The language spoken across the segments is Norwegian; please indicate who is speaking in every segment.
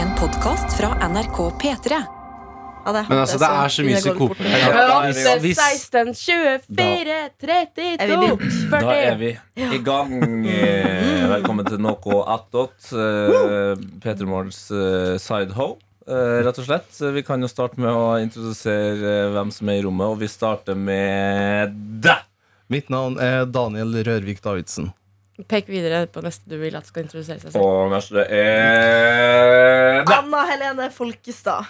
Speaker 1: En podkast fra NRK P3.
Speaker 2: Men altså, det er så mye psykoper her.
Speaker 3: Hvis- hvis-
Speaker 4: 16, 24, 32,
Speaker 3: Er vi i
Speaker 4: 40
Speaker 5: Da er vi
Speaker 3: Ja.
Speaker 5: i gang. Eh, Velkommen til noe attåt. eh, Peter Morgens eh, sidehow, eh, rett og slett. Eh, Vi kan jo starte med å introdusere eh, hvem som er i rommet, og vi starter med deg.
Speaker 6: Mitt navn er Daniel Rørvik Davidsen.
Speaker 3: Pek videre på neste du vil at skal introdusere seg selv.
Speaker 5: Og neste er deg.
Speaker 3: Anna Helene Folkestad.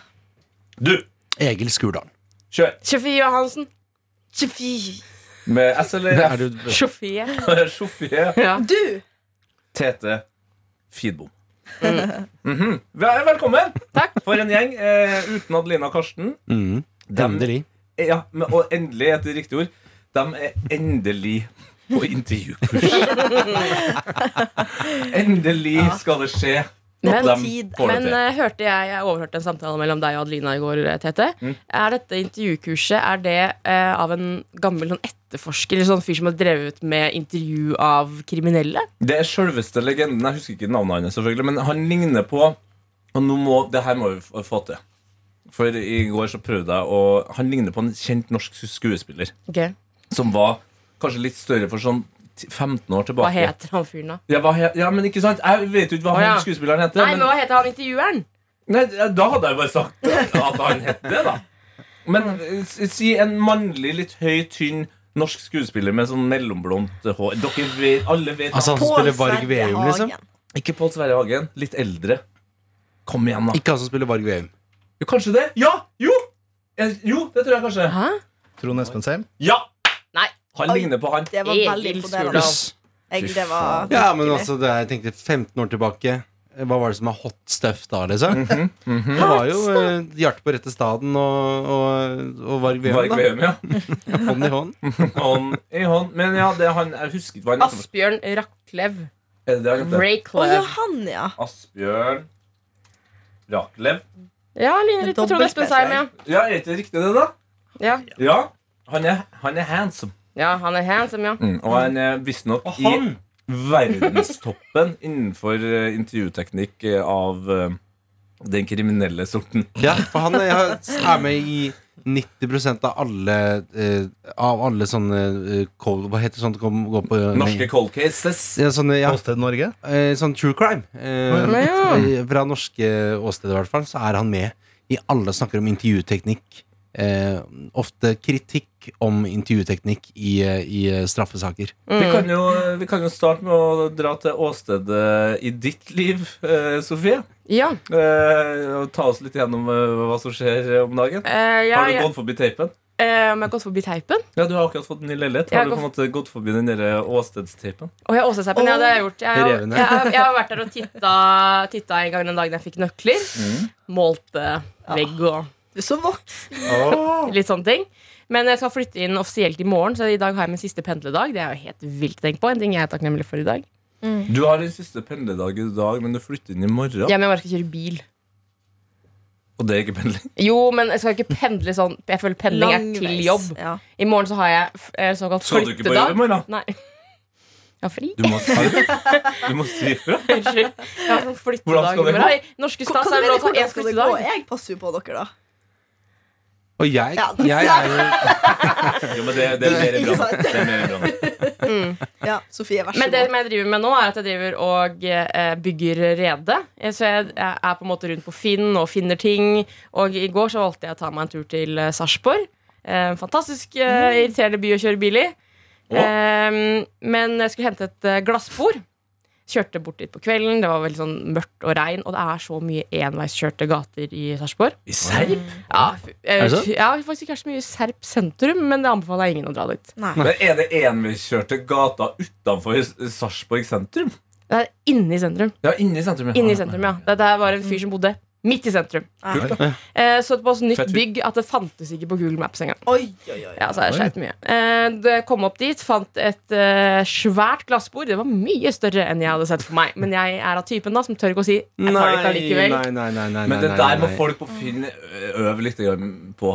Speaker 5: Du,
Speaker 2: Egil Skurdal.
Speaker 5: kjør.
Speaker 3: Sofie Johansen. Sofie.
Speaker 5: Med S
Speaker 2: Det
Speaker 5: eller
Speaker 2: er du
Speaker 3: Sofie.
Speaker 5: Sofie
Speaker 3: Ja.
Speaker 4: Du!
Speaker 5: Tete Fidbom. Mhm. Vel- Velkommen!
Speaker 3: Mm. Takk.
Speaker 5: For en gjeng. Eh, uten Adelina og Karsten.
Speaker 2: mm. Endelig.
Speaker 5: Eh, Ja, men, og endelig er det riktig ord. De er endelig på intervjukurs. endelig skal det skje.
Speaker 3: Men
Speaker 5: Dem
Speaker 3: tid.
Speaker 5: får det
Speaker 3: Men
Speaker 5: til.
Speaker 3: eh, hørte jeg, jeg overhørte en samtale mellom deg og Adelina i går, eh, Tete.
Speaker 5: Mm.
Speaker 3: Er dette intervjukurset er det eh, av en gammel sånn etterforsker eller sånn fyr som har drevet med intervju av kriminelle?
Speaker 5: Det er sjølveste legenden. Jeg husker ikke navnet hans, selvfølgelig, men han ligner på Og nå må, det her må vi f- få til. For i går så prøvde jeg å Han ligner på en kjent norsk skuespiller
Speaker 3: Ok.
Speaker 5: som var kanskje litt større for sånn ti- 15 år tilbake.
Speaker 3: Hva heter han fyren, da?
Speaker 5: Ja, hva he ja, men ikke sant? Jeg vet jo ikke hva
Speaker 3: Å, ja.
Speaker 5: han skuespilleren heter.
Speaker 3: Nei, men hva heter han intervjueren?
Speaker 5: Nei, da hadde jeg bare sagt at han het det, da. Men eh, si en mannlig, litt høy, tynn norsk skuespiller med sånn mellomblondt hår. Dere vet, alle vet
Speaker 2: Altså han som spiller Varg Veum, liksom?
Speaker 5: Ikke Pål Sverre Hagen. Litt eldre. Kom igjen, da.
Speaker 2: Ikke han som spiller Varg Veum.
Speaker 5: Jo, Kanskje det? Ja! Jo! Eh, Jo, det tror jeg kanskje.
Speaker 3: Hæ?
Speaker 6: Trond Espensheim.
Speaker 5: Ja!
Speaker 3: Nei.
Speaker 5: Han
Speaker 4: Oi.
Speaker 5: ligner på han.
Speaker 4: Det var veldig
Speaker 3: Egil
Speaker 4: imponerende.
Speaker 3: Skurdal.
Speaker 2: Jøss.
Speaker 4: Jeg, det var
Speaker 2: Ja, men altså, det er, jeg tenkte 15 år tilbake. Hva var det som var hot stuff da, liksom? Det var jo eh, Hjerte på rette staden og, og, og Varg
Speaker 5: Varg
Speaker 2: Veum,
Speaker 5: Veum, ja.
Speaker 2: da. Hånd i hånd.
Speaker 5: Hånd i hånd. Men ja, det er han, jeg husker ikke hva han heter.
Speaker 3: Asbjørn Raklev.
Speaker 5: Er det det han
Speaker 4: Å
Speaker 5: heter?
Speaker 4: ja,
Speaker 3: Rayclev.
Speaker 4: han, ja.
Speaker 5: Asbjørn Raklev.
Speaker 3: Ja, ligner litt på Trond Espen Seim, ja.
Speaker 5: Ja, er ikke det riktig, det, da?
Speaker 3: ja.
Speaker 5: Ja. Han er, han er handsome.
Speaker 3: Ja, han er handsome, ja.
Speaker 5: Mm, og han er visstnok i verdenstoppen innenfor eh, intervjuteknikk eh, av eh, den kriminelle sorten.
Speaker 2: Ja, for han er, er med i 90 av alle eh, Av alle sånne eh, cold, Hva heter sånt som går på
Speaker 5: Norske cold cases.
Speaker 2: ja, sånne, ja,
Speaker 6: Åsted Norge.
Speaker 2: eh, sånn true crime. Eh,
Speaker 3: Men ja.
Speaker 2: eh, Fra norske åsteder, i hvert fall, så er han med i alle snakker om intervjuteknikk. Eh, ofte kritikk om intervjuteknikk i, eh, i eh, straffesaker.
Speaker 5: Vi
Speaker 3: Mm.
Speaker 5: kan, jo, eh, vi kan jo starte med å dra til åstedet i ditt liv, eh, Sofie.
Speaker 3: ja.
Speaker 5: Eh, og ta oss litt gjennom eh, hva som skjer eh, om dagen.
Speaker 3: Eh, ja,
Speaker 5: Har du
Speaker 3: ja.
Speaker 5: gått forbi teipen?
Speaker 3: Eh, om jeg har gått forbi teipen?
Speaker 5: Ja, Du har akkurat fått en ny leilighet.
Speaker 3: Jeg
Speaker 5: Har
Speaker 3: har
Speaker 5: du på en måte gått forbi den der åstedsteipen?
Speaker 3: Å, jeg har Åseseipen, ja, det har jeg gjort. Jeg, har-
Speaker 2: Revene.
Speaker 3: jeg, har- jeg har vært der og titta, titta en gang den dagen jeg fikk nøkler.
Speaker 5: Mm.
Speaker 3: Målte vegg og
Speaker 4: Du er så voksen.
Speaker 3: litt sånne ting. Men jeg skal flytte inn offisielt i morgen, så i dag har jeg min siste pendledag. Det er jo helt vilt å tenke på. En ting jeg er takknemlig for i dag.
Speaker 5: Du har din siste pendlerdag i dag, men du flytter inn i morgen.
Speaker 3: Ja, men jeg bare skal kjøre bil.
Speaker 5: Og det er ikke pendling.
Speaker 3: Jo, men jeg skal ikke pendle sånn. Jeg føler pendling er til
Speaker 4: Langveis.
Speaker 3: jobb.
Speaker 4: Ja.
Speaker 3: I morgen så har jeg f- eh, såkalt
Speaker 5: Skal du ikke på jobb i
Speaker 3: flyttedag.
Speaker 5: morgen?
Speaker 3: Nei. Jeg har fri.
Speaker 5: Du må si, du må si fra.
Speaker 3: Unnskyld. Jeg har sånn
Speaker 5: Hvordan skal
Speaker 3: flyttedag i
Speaker 5: det
Speaker 3: morgen. I norske
Speaker 4: Kan
Speaker 3: stat
Speaker 4: du
Speaker 3: så er
Speaker 4: velge
Speaker 3: det lov til å ha
Speaker 4: hvordan
Speaker 3: én
Speaker 4: skal det gå?
Speaker 3: flyttedag.
Speaker 4: Jeg passer jo på dere, da.
Speaker 2: Og jeg,
Speaker 4: Ja.
Speaker 2: jeg er jo
Speaker 5: Jo, men det, det er mer i
Speaker 4: Ikke
Speaker 5: brann.
Speaker 4: sant?
Speaker 5: Det er mer i brann.
Speaker 4: Ja, Sofie, vær så
Speaker 3: Men det
Speaker 4: god.
Speaker 3: som jeg driver med nå, er at jeg driver og eh, bygger rede. Eh, Så jeg jeg er på en måte rundt på Finn og finner ting. Og i går så valgte jeg å ta meg en tur til eh, Sarpsborg. Eh, fantastisk eh, irriterende by å kjøre bil i.
Speaker 5: Å.
Speaker 3: Eh, men jeg skulle hente et eh, glassbord. Kjørte bort dit på kvelden. Det var veldig sånn mørkt og regn, og det er så mye enveiskjørte gater i Sarpsborg.
Speaker 5: I Serb?
Speaker 3: Ja, f- eh,
Speaker 2: Er det så?
Speaker 3: ja, faktisk ikke er så mye Serp sentrum, men det anbefaler jeg ingen å dra dit.
Speaker 5: Men er det enveiskjørte gater utenfor Sarpsborg sentrum?
Speaker 3: Det er inne i sentrum.
Speaker 5: Ja, inne i sentrum.
Speaker 3: Inne i sentrum, ja. Dette her var en fyr som bodde midt i sentrum.
Speaker 5: Kult, da.
Speaker 3: Eh, så det var et
Speaker 5: Fett
Speaker 3: nytt
Speaker 5: fyr.
Speaker 3: bygg at det fantes ikke på Google Maps engang.
Speaker 4: Oi, oi, oi.
Speaker 3: Ja, så jeg sleit mye. Eh, det kom opp dit, fant et eh, svært glassbord. Det var mye større enn jeg hadde sett for meg. Men jeg er av typen da som tør ikke å si 'jeg tar det ikke allikevel'.
Speaker 2: nei, nei, nei, nei,
Speaker 5: Men det
Speaker 2: nei,
Speaker 5: der
Speaker 2: nei,
Speaker 5: må
Speaker 2: nei.
Speaker 5: folk på Finn ø- øve litt grann på.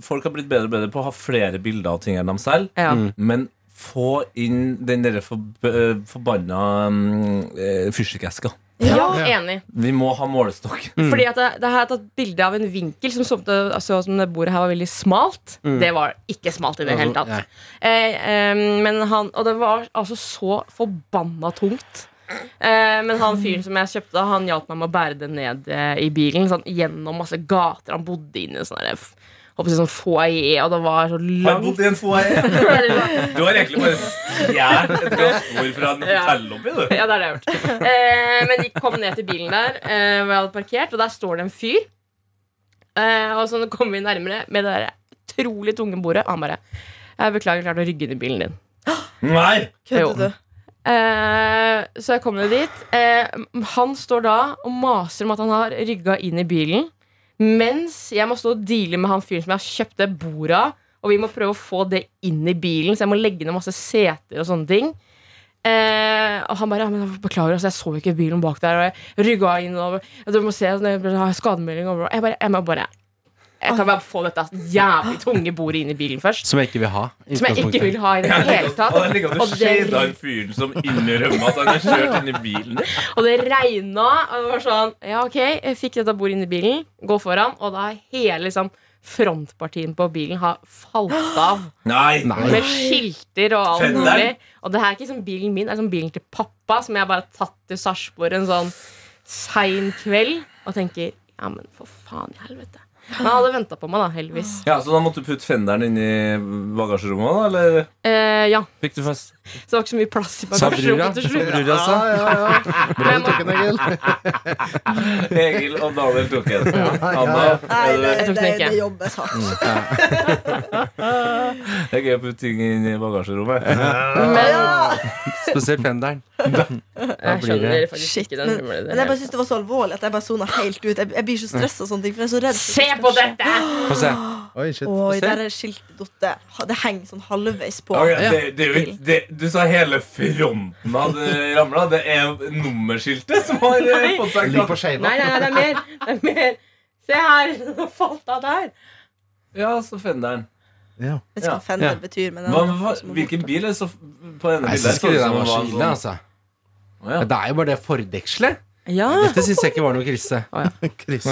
Speaker 5: Folk har blitt bedre og bedre på å ha flere bilder av ting enn dem selv.
Speaker 3: Ja.
Speaker 5: Men eh, få inn den derre forb ø, forbanna mm, ø, fyrstikkeska.
Speaker 3: Ja, enig.
Speaker 5: Vi må ha målestokk.
Speaker 3: Fordi at det, det har jeg tatt bilde av en vinkel som så ut til- så ut som det bordet her var veldig smalt. Det var ikke smalt i det hele
Speaker 2: Nei.
Speaker 3: tatt. Eh, eh, men han, og det var altså så forbanna tungt. Eh, men han fyren som jeg kjøpte, han hjalp meg med å bære det ned eh, i bilen. Sånn, gjennom masse gater. Han bodde inne i en sånn der, f- håper jeg, sånn foajé, og det var
Speaker 5: Har
Speaker 3: så
Speaker 5: jeg
Speaker 3: langt.
Speaker 5: bodd i en foajé? Du har egentlig bare stjålet et glassbord fra en
Speaker 3: Ja.
Speaker 5: hotellobby, du.
Speaker 3: Ja, det er det jeg har gjort. Eh, men de kom ned til bilen der eh, hvor jeg hadde parkert, og der står det en fyr. Eh, og så kommer vi nærmere med det der utrolig tunge bordet. Og han bare Jeg beklager, jeg klarte å rygge inn i bilen din.
Speaker 5: Nei!
Speaker 3: Jo.
Speaker 4: Kødder du?
Speaker 3: Eh, så jeg kom ned dit. Eh, han står da og maser om at han har rygga inn i bilen. Mens jeg må stå og deale med han fyren som jeg har kjøpt det bordet av. Og vi må prøve å få det inn i bilen, så jeg må legge ned masse seter og sånne ting. Eh, og han bare ja, men jeg 'Beklager, altså, jeg så ikke bilen bak der.' Og jeg rygga inn og og 'Du må se, altså, jeg har skademelding.' Og jeg bare, jeg må bare Jeg kan bare få dette jævlig tunge bordet inn i bilen først.
Speaker 2: Som jeg ikke vil ha. i
Speaker 3: Som jeg ikke
Speaker 2: utgangspunktet.
Speaker 3: vil ha i det hele tatt.
Speaker 5: Og det ligger at du
Speaker 3: Og det-
Speaker 5: shada han fyren som innrømmer at han har kjørt inn i bilen.
Speaker 3: Og det regna, og det var sånn Ja, ok, jeg fikk dette bordet inn i bilen, gå foran, og da er hele liksom frontpartien på bilen har falt av.
Speaker 5: Nei!
Speaker 2: Nei.
Speaker 3: Med skilter og alt
Speaker 5: Fenderen.
Speaker 3: mulig. Og det her er ikke som bilen min, det er som bilen til pappa, som jeg bare har tatt til Sarpsborg en sånn sein kveld, og tenker Ja, men for faen i helvete. Men han hadde venta på meg, da, heldigvis.
Speaker 5: Ja, Så da måtte du putte fenderen inn i bagasjerommet, da? Eller
Speaker 3: Eh, ja,
Speaker 5: fikk du fest?
Speaker 3: så det var ikke så mye plass i
Speaker 2: Sa brura?
Speaker 3: bagasjerommet til slutt.
Speaker 5: Brura sa
Speaker 6: ja, ja. Bra du tok en, Egil.
Speaker 5: Egil og Daniel tok en. Anna,
Speaker 6: ja,
Speaker 4: Nei,
Speaker 5: er
Speaker 4: det,
Speaker 5: det-
Speaker 3: Jeg Mm. tok
Speaker 4: det,
Speaker 3: den ikke.
Speaker 4: det jobbes hardt.
Speaker 5: det er gøy å putte ting inn i bagasjerommet.
Speaker 3: Men
Speaker 2: Spesielt fenderen.
Speaker 3: jeg
Speaker 2: blir det-
Speaker 3: skjønner faktisk
Speaker 4: Shit,
Speaker 3: ikke
Speaker 4: men,
Speaker 3: den humoren. i det
Speaker 4: men jeg
Speaker 3: hele
Speaker 4: bare syns det var så alvorlig at jeg bare sona helt ut. Jeg, jeg blir så stressa av sånne ting, for jeg er så redd. for
Speaker 3: Se på
Speaker 4: konsekvenser.
Speaker 3: dette!
Speaker 2: Få se.
Speaker 6: Oi, shit.
Speaker 4: Oi,
Speaker 2: Se.
Speaker 4: der er skiltet dotte. Ha- Det henger sånn halvveis på.
Speaker 5: Ok, det, det, er jo ikke- det, du sa hele fronten hadde ramla. Det er nummerskiltet som har eh, fått seg
Speaker 6: Ligg på skeiva.
Speaker 3: Nei, nei, nei, det er mer. Det er mer. Se her! Det falt av der.
Speaker 5: Ja, så fenderen.
Speaker 6: Ja.
Speaker 4: Jeg vet ikke hva
Speaker 2: Ja.
Speaker 4: fender betyr, men
Speaker 5: Hva, hva, hvilken bil er det så på ene
Speaker 2: Nei,
Speaker 5: bildet?
Speaker 2: jeg syns ikke det
Speaker 5: så
Speaker 2: der
Speaker 5: det
Speaker 2: var så
Speaker 5: en
Speaker 2: ille, altså.
Speaker 5: Å, ja.
Speaker 2: Det er jo bare det fordekselet.
Speaker 3: Ja.
Speaker 2: Dette syns jeg ikke var noe krise.
Speaker 6: Chris.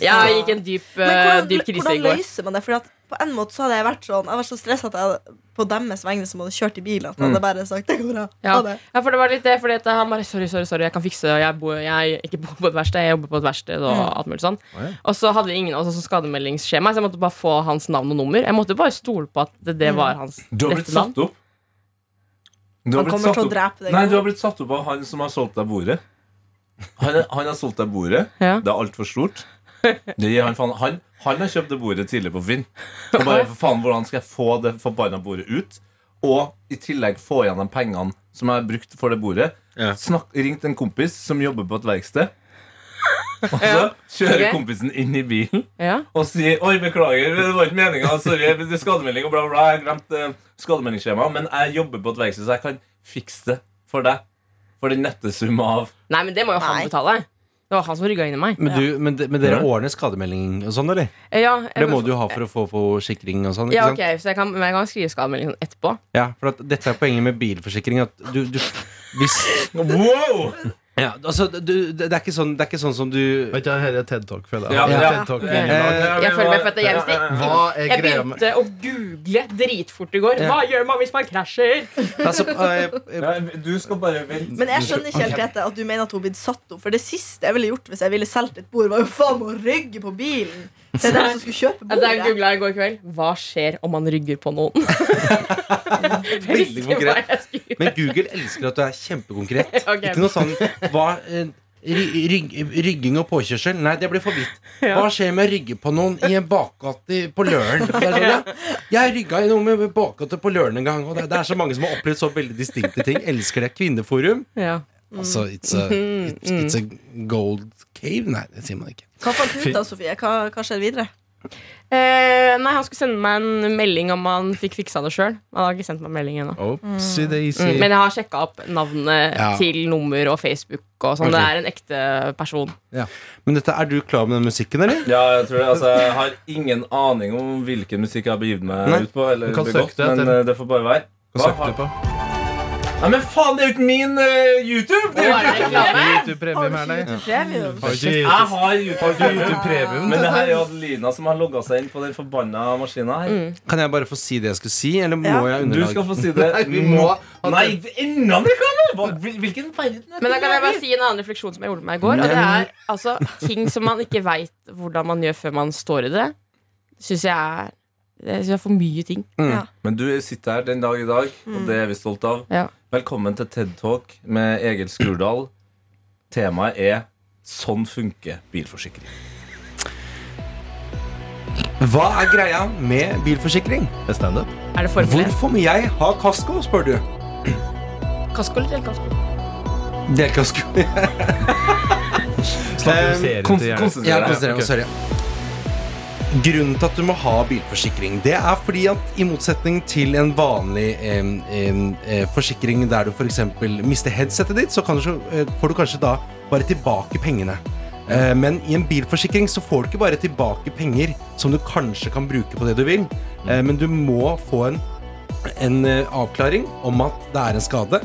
Speaker 3: Jeg gikk en dyp, eh,
Speaker 4: Men
Speaker 3: dyp
Speaker 4: hvordan,
Speaker 3: krise i
Speaker 4: hvordan
Speaker 3: går.
Speaker 4: løser man det? Fordi at på en måte så hadde jeg vært sånn Jeg var så stressa at jeg på deres vegne som hadde kjørt i bil, at jeg hadde bare sagt det går bra.
Speaker 3: Ja.
Speaker 4: Ha det.
Speaker 3: Ja, for det var litt det, fordi at han bare Sorry, sorry, sorry, jeg kan fikse det. Jeg, bor, jeg ikke bor på et verksted, jeg jobber på et verksted. Og
Speaker 4: Mm.
Speaker 3: alt mulig sånn
Speaker 6: Å, ja.
Speaker 3: Og så hadde vi ingen av oss som skademeldingsskjema, så jeg måtte bare få hans navn og nummer. Jeg måtte bare stole på at det,
Speaker 4: Mm.
Speaker 3: det var hans
Speaker 5: Du har blitt
Speaker 3: rette navn.
Speaker 5: satt opp. Du har
Speaker 4: Han
Speaker 5: blitt
Speaker 4: kommer
Speaker 5: satt
Speaker 4: til å
Speaker 5: opp.
Speaker 4: drepe deg.
Speaker 5: Nei, du har blitt satt opp av han som har solgt deg bordet. Han, han har solgt deg bordet.
Speaker 3: Ja.
Speaker 5: Det er altfor stort. Det gir han, faen. han, han har kjøpt det bordet tidlig på Finn. Og bare, for faen, Hvordan skal jeg få det forbanna bordet ut? Og i tillegg få igjen de pengene som jeg har brukt for det bordet.
Speaker 2: Ja.
Speaker 5: Snakk, ringt en kompis som jobber på et verksted. Og så kjører
Speaker 3: Ok.
Speaker 5: kompisen inn i bilen
Speaker 3: Ja.
Speaker 5: og sier Oi, beklager, det var ikke meninga. Sorry, det er skademelding og bla, bla. bla, Jeg glemte eh, skademeldingsskjemaet. Men jeg jobber på et verksted, så jeg kan fikse det for deg. For den nette sum av
Speaker 3: Nei, men det må jo han
Speaker 4: Nei.
Speaker 3: betale. Det var han som rygga inn i meg.
Speaker 2: Men, du, men, de, men dere
Speaker 5: Ja.
Speaker 2: ordner skademelding og sånn, eller?
Speaker 3: Eh, Ja,
Speaker 2: For det må
Speaker 3: jeg-
Speaker 2: du jo ha for å få forsikring og sånn. ikke
Speaker 3: ja,
Speaker 2: sant?
Speaker 3: ok, så jeg kan, men jeg kan skrive skademelding sånn etterpå.
Speaker 2: Ja, for at dette er poenget med bilforsikring. At du, du hvis,
Speaker 5: Wow!
Speaker 2: ja, altså, du, det, er ikke sånn, det er ikke sånn som du
Speaker 6: Vet du, dette er TED Talk, føler jeg.
Speaker 5: Ja, ja.
Speaker 6: TED Talk.
Speaker 5: Eh,
Speaker 3: Jeg føler meg for at jeg visste
Speaker 6: Hva er
Speaker 3: Jeg
Speaker 6: greia med
Speaker 3: begynte å google dritfort i går.
Speaker 2: Ja.
Speaker 3: Hva gjør man hvis man krasjer?
Speaker 2: altså, eh, eh,
Speaker 5: Ja, Du skal bare vente.
Speaker 4: Men jeg skjønner ikke helt dette at du mener at hun har blitt satt opp. For det siste jeg ville gjort hvis jeg ville solgt et bord, var jo faen meg å rygge på bilen. Det er dem som skulle kjøpe
Speaker 3: Altså, jeg
Speaker 4: bordet.
Speaker 3: googla i går kveld. Hva skjer om man rygger på noen? Jeg visste
Speaker 2: Veldig
Speaker 3: ikke hva
Speaker 2: konkret.
Speaker 3: jeg skulle
Speaker 2: Men Google elsker at du er kjempekonkret.
Speaker 3: Ok.
Speaker 2: Ikke noe sånn hva, eh, ry- rygg, Rygging og påkjørsel. Nei, det blir for vidt. Hva skjer med å rygge på noen i en bakgate i- på Løren? Det er Sånn, ja. Jeg rygga i noe med bakgate på Løren en gang, og det, det er så mange som har opplevd så veldig distinkte ting. Elsker det. Kvinneforum.
Speaker 3: ja.
Speaker 2: Altså, it's a, it's, it's a gold cave. Nei, det sier man ikke.
Speaker 4: Hva fant du ut da, Sofie? Hva, hva skjer videre?
Speaker 3: eh, Nei, han skulle sende meg en melding om han fikk fiksa det sjøl. Han har ikke sendt meg melding ennå.
Speaker 6: Opsi
Speaker 3: Mm,
Speaker 6: daisy.
Speaker 3: men jeg har sjekka opp navnet
Speaker 2: Ja.
Speaker 3: til nummer og Facebook. Og sånn.
Speaker 2: Ok.
Speaker 3: Det er en ekte person.
Speaker 2: Men dette, er du klar med den musikken, eller?
Speaker 5: Ja, jeg tror det. Altså, jeg har ingen aning om hvilken musikk jeg har begitt meg
Speaker 2: Nei.
Speaker 5: ut på. Eller
Speaker 6: Du kan
Speaker 5: begått,
Speaker 6: søke det
Speaker 5: men
Speaker 6: etter-
Speaker 5: eh, det får bare være.
Speaker 6: Hva søkte du på?
Speaker 5: Nei, men faen, det er jo ikke min eh, YouTube! Det er jo ikke
Speaker 6: YouTube-premie med deg.
Speaker 4: Premium.
Speaker 6: Har ikke
Speaker 5: Jeg
Speaker 6: YouTube-
Speaker 5: har YouTube.
Speaker 6: YouTube-premien.
Speaker 5: Men det her er jo Adelina som har logga seg inn på den forbanna maskina her.
Speaker 2: Kan jeg bare få si det jeg skulle si, eller må
Speaker 4: Ja.
Speaker 2: jeg
Speaker 5: Du skal
Speaker 2: underlage?
Speaker 5: få si det.
Speaker 6: Nei, vi må-
Speaker 5: Nei, enda mer reklame! Hva- hvil- Hvilken verden er
Speaker 3: Men da kan jeg bare si en annen refleksjon som jeg gjorde
Speaker 2: Mm.
Speaker 3: meg i går. Og det er altså ting som man ikke veit hvordan man gjør før man står i det. Syns jeg er det synes jeg er for mye ting.
Speaker 5: Men du sitter her den dag i dag, og det er vi stolt av.
Speaker 3: Mm. Ja.
Speaker 5: Velkommen til TED Talk med Egil Skurdal. Temaet er 'Sånn funker bilforsikring'.
Speaker 2: Hva er greia med bilforsikring?
Speaker 6: Det er standup.
Speaker 3: Er det formelig?
Speaker 2: Hvorfor må jeg ha kasko, spør du?
Speaker 3: Kasko eller delkasko?
Speaker 2: Delkasko. Eh,
Speaker 6: Standupiserer
Speaker 5: Kons-
Speaker 6: til hjernen.
Speaker 5: konsentrer
Speaker 2: Jeg
Speaker 5: deg.
Speaker 2: konsentrerer meg, sorry. Grunnen til at du må ha bilforsikring, det er fordi at i motsetning til en vanlig em, em, eh, forsikring der du f.eks. mister headsetet ditt, så kan du, så, eh, får du kanskje da bare tilbake pengene. Eh, Men i en bilforsikring så får du ikke bare tilbake penger som du kanskje kan bruke på det du vil, eh, men du må få en, en eh, avklaring om at det er en skade.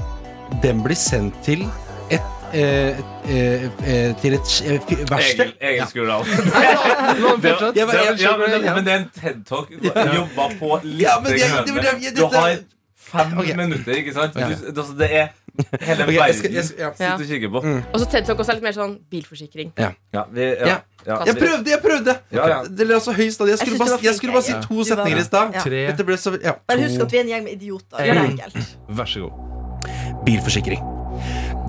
Speaker 2: Den blir sendt til et, eh, eh, eh, til et eh, fi- verksted.
Speaker 5: Egil, Egil
Speaker 2: Ja.
Speaker 5: Skurdal.
Speaker 6: Det var-
Speaker 2: Jeg var- jeg-
Speaker 5: Ja, men, det,
Speaker 2: ja.
Speaker 5: men det er en TED Talk. Jobba på litt.
Speaker 2: Ja, men jeg-
Speaker 5: grann.
Speaker 2: det- det- det-
Speaker 5: du har fem
Speaker 2: Ok.
Speaker 5: minutter, ikke sant?
Speaker 2: Ja.
Speaker 5: Du, altså, det er hele
Speaker 2: Ok, jeg, skal,
Speaker 5: verden
Speaker 2: jeg, skal, ja.
Speaker 3: Ja.
Speaker 5: sitter og kikker på.
Speaker 3: Og så TED Talk også er litt mer sånn bilforsikring.
Speaker 5: Ja, vi, ja,
Speaker 2: Ja. jeg prøvde! jeg prøvde
Speaker 5: Ja, ja.
Speaker 2: Det lå så høy stad. Jeg skulle,
Speaker 4: synes det
Speaker 2: bare,
Speaker 4: var
Speaker 2: jeg
Speaker 4: flink,
Speaker 2: skulle bare si
Speaker 4: jeg.
Speaker 2: to
Speaker 4: Du var-
Speaker 2: setninger i stad.
Speaker 4: Ja.
Speaker 6: Tre.
Speaker 2: Dette ble så ja.
Speaker 4: Bare husk at vi er en gjeng med idioter. Det er enkelt.
Speaker 6: Vær så god.
Speaker 2: Bilforsikring.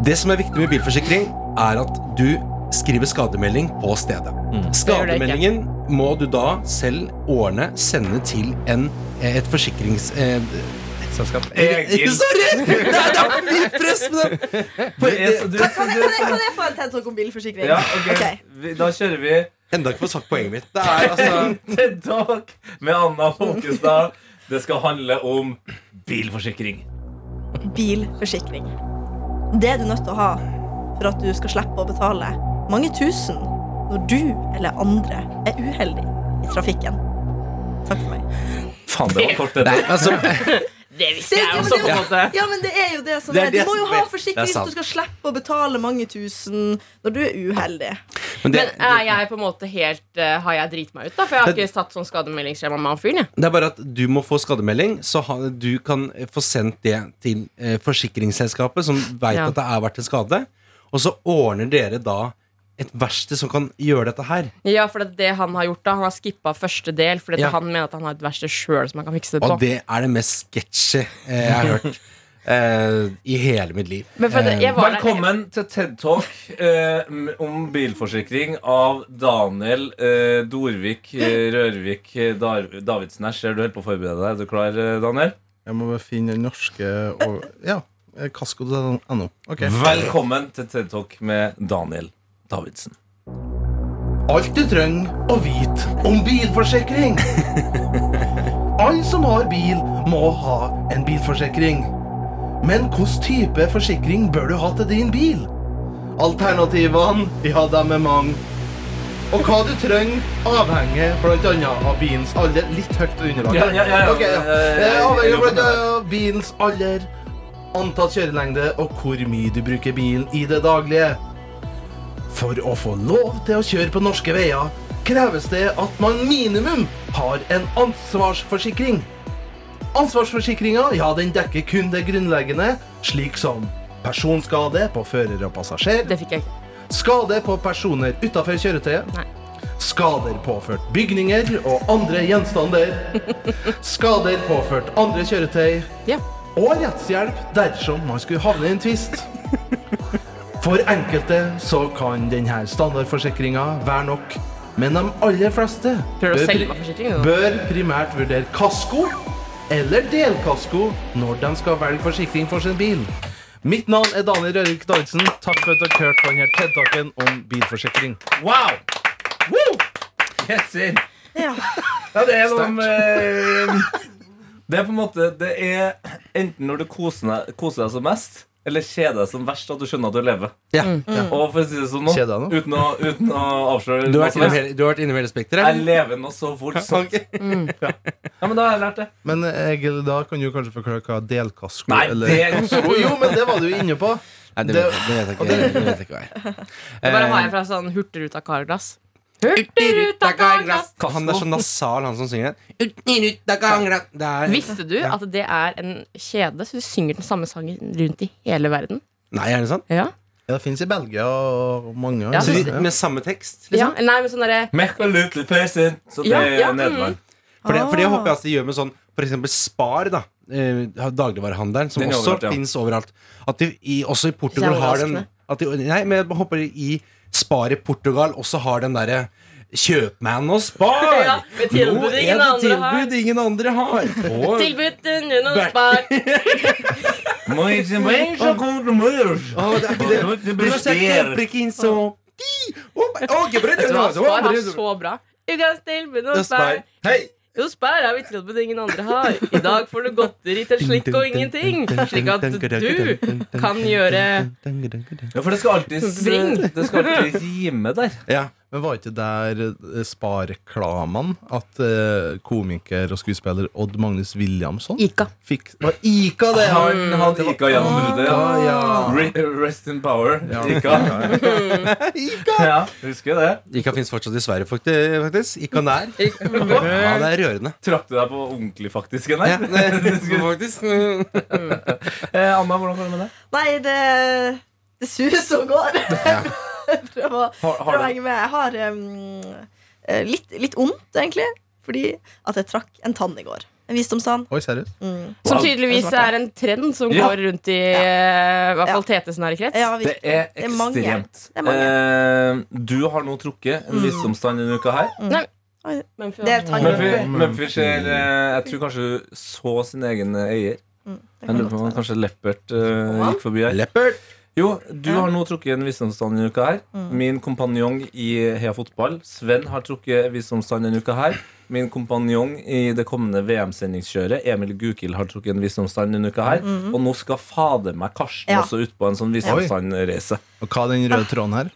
Speaker 2: Det som er viktig med bilforsikring, er at du skriver skademelding på stedet.
Speaker 5: Mm.
Speaker 2: Skademeldingen må du da selv ordne, sende til en, et forsikrings... Eh,
Speaker 6: Selskap.
Speaker 5: Egil.
Speaker 2: Sorry! Det er, det er for mye press på den!
Speaker 5: Du er så- du er så-
Speaker 4: Kan jeg, kan jeg få en TED Talk om bilforsikring?
Speaker 5: Ja, ok.
Speaker 4: Ok.
Speaker 5: Vi, da kjører vi
Speaker 2: Enda ikke fått sagt poenget mitt. Det er altså
Speaker 5: TED Talk med Anna Folkestad. Det skal handle om bilforsikring.
Speaker 4: Bilforsikring. Det er du nødt til å ha for at du skal slippe å betale mange tusen når du eller andre er uheldig i trafikken. Takk for meg.
Speaker 5: Faen, det var kort.
Speaker 2: Nei,
Speaker 5: Det.
Speaker 2: altså
Speaker 3: Det visste jeg også, på en måte.
Speaker 4: Ja, men det er jo det som
Speaker 2: Det er
Speaker 4: er. Du
Speaker 2: det
Speaker 4: må jo
Speaker 2: som
Speaker 4: ha
Speaker 2: er-
Speaker 4: forsikring
Speaker 2: det er
Speaker 4: hvis du skal slippe å betale mange tusen når du er uheldig.
Speaker 2: men det,
Speaker 3: Men er jeg på en måte helt eh, Har jeg driti meg ut, da? For jeg har ikke tatt sånn skademeldingsskjema med han fyren. jeg.
Speaker 2: Det er bare at du må få skademelding, så ha- du kan eh, få sendt det til eh, forsikringsselskapet, som veit
Speaker 3: Ja.
Speaker 2: at det er vært en skade. Og så ordner dere da et verksted som kan gjøre dette her.
Speaker 3: Ja, for det, er det han har gjort da Han har skippa første del fordi
Speaker 2: Ja.
Speaker 3: han mener at han har et verksted sjøl som han kan fikse det på.
Speaker 2: Og det er det mest sketsjy eh, jeg har hørt eh, i hele mitt liv.
Speaker 3: Men for det, jeg var der-
Speaker 5: Velkommen til TED Talk eh, om bilforsikring av Daniel eh, Dorvik eh, Rørvik eh, Dar Davidsen. Her ser du holder på å forberede deg. Er du klar, eh, Daniel?
Speaker 6: Jeg må bare finne den norske og Ja. eh, Kasko.no. Ok.
Speaker 5: Velkommen til TED Talk med Daniel Davidsen.
Speaker 6: Alt du trenger å vite om bilforsikring. Alle som har bil, må ha en bilforsikring. Men hvilken type forsikring bør du ha til din bil? Alternativene ja, de er mange. Og hva du trenger, avhenger bl.a. av bilens alder Litt høyt og underlag.
Speaker 5: Ja, ja, ja, ja.
Speaker 6: Ok, ja.
Speaker 5: Eh,
Speaker 6: Eh,
Speaker 5: jeg
Speaker 6: Avhenger
Speaker 5: jobber med
Speaker 6: bl.a. av bilens alder, antatt kjørelengde og hvor mye du bruker bilen i det daglige. For å få lov til å kjøre på norske veier kreves det at man minimum har en ansvarsforsikring. Ansvarsforsikringa ja, den dekker kun det grunnleggende, slik som personskade på fører og passasjer,
Speaker 3: Det fikk jeg ikke.
Speaker 6: skade på personer utafor kjøretøyet,
Speaker 3: Nei.
Speaker 6: skader påført bygninger og andre gjenstander, skader påført andre kjøretøy,
Speaker 3: Ja.
Speaker 6: og rettshjelp dersom man skulle havne i en tvist. For enkelte så kan denne standardforsikringa være nok, men de aller fleste
Speaker 3: Prøver å
Speaker 6: bør-
Speaker 3: selge meg forsikring. du, da.
Speaker 6: bør primært vurdere kasko eller delkasko når de skal velge forsikring for sin bil. Mitt navn er Daniel Rørik Davidsen. Takk for at dere hørte på denne TED-talken om bilforsikring.
Speaker 5: Wow! Woo! Yes, in.
Speaker 4: Ja.
Speaker 5: Ja, det er eh, noe med Det er på en måte Det er enten når du koser deg, koser deg som mest, eller kjede deg som verst at du skjønner at du lever.
Speaker 2: Ja.
Speaker 5: Og for å si det sånn nå,
Speaker 6: Kjede deg nå?
Speaker 5: uten å, uten å avsløre
Speaker 2: Du har
Speaker 5: noe
Speaker 2: vært
Speaker 5: som
Speaker 2: innom
Speaker 5: helst,
Speaker 2: hele, du har vært innom hele
Speaker 5: Jeg
Speaker 2: spekteret?
Speaker 5: lever nå så voldsomt. Ja, men da har jeg lært det.
Speaker 6: Men eh, Egil, da kan du kanskje forklare hva delkasko
Speaker 5: Nei, det
Speaker 6: eller Sko- Jo, men det var du jo inne på.
Speaker 2: Nei, det vet jeg det vet jeg ikke. Det vet jeg ikke hva jeg
Speaker 3: Det bare har
Speaker 2: Eh,
Speaker 3: jeg fra sånn Hurtigruta karglass. Hurtigruta karglass!
Speaker 2: Han er så nasal, han som synger den. Utirutta gangra- Det er-
Speaker 3: Visste du at det er en kjede, så du synger den samme sangen rundt i hele verden?
Speaker 2: Nei, er det sant?
Speaker 3: Ja,
Speaker 6: Ja, det fins i Belgia og mange.
Speaker 3: Ja,
Speaker 2: Så
Speaker 6: andre.
Speaker 2: de, med samme tekst?
Speaker 3: ja.
Speaker 2: Liksom?
Speaker 3: Nei, men sånn derre
Speaker 5: Mekka little person. Så det
Speaker 3: Ja, ja,
Speaker 5: er Nederland.
Speaker 2: For, det, for det
Speaker 4: Ah.
Speaker 2: håper jeg at de gjør med sånn For eksempel Spar, da. Eh, dagligvarehandelen, som
Speaker 5: Den er
Speaker 2: også
Speaker 5: overalt, ja.
Speaker 2: finnes overalt. At de i, også i Portugal
Speaker 3: Det er
Speaker 2: har den
Speaker 3: overraskende.
Speaker 2: at de, Nei, men jeg håper i Spar i Portugal også har den derre Kjøpmann og Spar!
Speaker 3: Ja, med tilbud
Speaker 2: Nå er
Speaker 3: ingen
Speaker 2: det
Speaker 3: andre har.
Speaker 2: tilbud ingen andre har! På
Speaker 3: Tilbudt under noen
Speaker 2: Bert.
Speaker 3: spar.
Speaker 5: Må ikke mer så god humør.
Speaker 2: Å, det er ikke det.
Speaker 5: Det
Speaker 2: Du
Speaker 5: blir
Speaker 2: har sett
Speaker 5: stjer.
Speaker 2: Leprekin som- Pi! Å, å, gebrød,
Speaker 3: Vet du hva,
Speaker 2: det var-
Speaker 3: Spar har så bra. Ukas tilbud
Speaker 2: Det
Speaker 3: og
Speaker 2: er
Speaker 3: spar.
Speaker 2: Spar. Hei!
Speaker 3: Jo, spar har vi tilbud ingen andre har. I dag får du godteri til slikk og ingenting. Slik at du kan gjøre
Speaker 5: Ja, for det skal alltid
Speaker 3: Bring.
Speaker 5: Det skal alltid rime der.
Speaker 2: Ja.
Speaker 6: Men var ikke der eh, spa-reklamene at eh, komiker og skuespiller Odd Magnus Williamson
Speaker 3: Ika.
Speaker 6: fikk Var Ika det?
Speaker 5: Han, han gikk av gjennom bruddet.
Speaker 6: Ah, ja.
Speaker 5: Re- Rest in power. Gikk av.
Speaker 6: Ika!
Speaker 5: Ja, husker det.
Speaker 2: Ika fins fortsatt i Sverige, fakti- faktisk. Ika nær. Ja, det er rørende.
Speaker 5: Trapp du deg på ordentlig, faktisk?
Speaker 2: Ja,
Speaker 5: Eller?
Speaker 2: det, faktisk.
Speaker 5: Eh, Anna, hvordan går det med deg?
Speaker 4: Nei, det, det suser og går. Jeg prøver å
Speaker 5: Har,
Speaker 4: prøver
Speaker 5: har
Speaker 4: å
Speaker 5: du
Speaker 4: henge med. Jeg har em, eh, litt, litt ondt, egentlig, fordi at jeg trakk en tann i går. En visdomstann.
Speaker 6: Oi, seriøst?
Speaker 4: Mm.
Speaker 3: Som tydeligvis er en trend som
Speaker 5: Ja.
Speaker 3: går rundt i eh, i hvert fall Tetes nære krets.
Speaker 4: Ja,
Speaker 5: Det
Speaker 4: virkelig.
Speaker 5: er
Speaker 4: Det er mange. Mm.
Speaker 5: ekstremt.
Speaker 4: Det er
Speaker 5: Eh, du har nå trukket en visdomstann denne uka her.
Speaker 3: Men for-
Speaker 4: Det er tann.
Speaker 5: Mumphy
Speaker 4: Mm.
Speaker 5: Mumphy ser eh, Jeg tror kanskje du så sin egen eier.
Speaker 4: Mm. Det
Speaker 5: Jeg
Speaker 4: kan
Speaker 5: lurer på
Speaker 4: godt
Speaker 5: om
Speaker 4: være.
Speaker 5: kanskje Leppert eh,
Speaker 3: Ja.
Speaker 5: gikk forbi her.
Speaker 2: Leopard.
Speaker 5: Jo, du
Speaker 4: Ja.
Speaker 5: har nå trukket en visdomstann denne uka her. Min kompanjong i Heia Fotball, Sven, har trukket visdomstann denne uka her. Min kompanjong i det kommende VM-sendingskjøret, Emil Gukild, har trukket en visdomstann denne uka her. Og nå skal fader meg Karsten
Speaker 4: Ja.
Speaker 5: også ut på en sånn visdomstannreise.
Speaker 6: Og hva er den røde tråden her?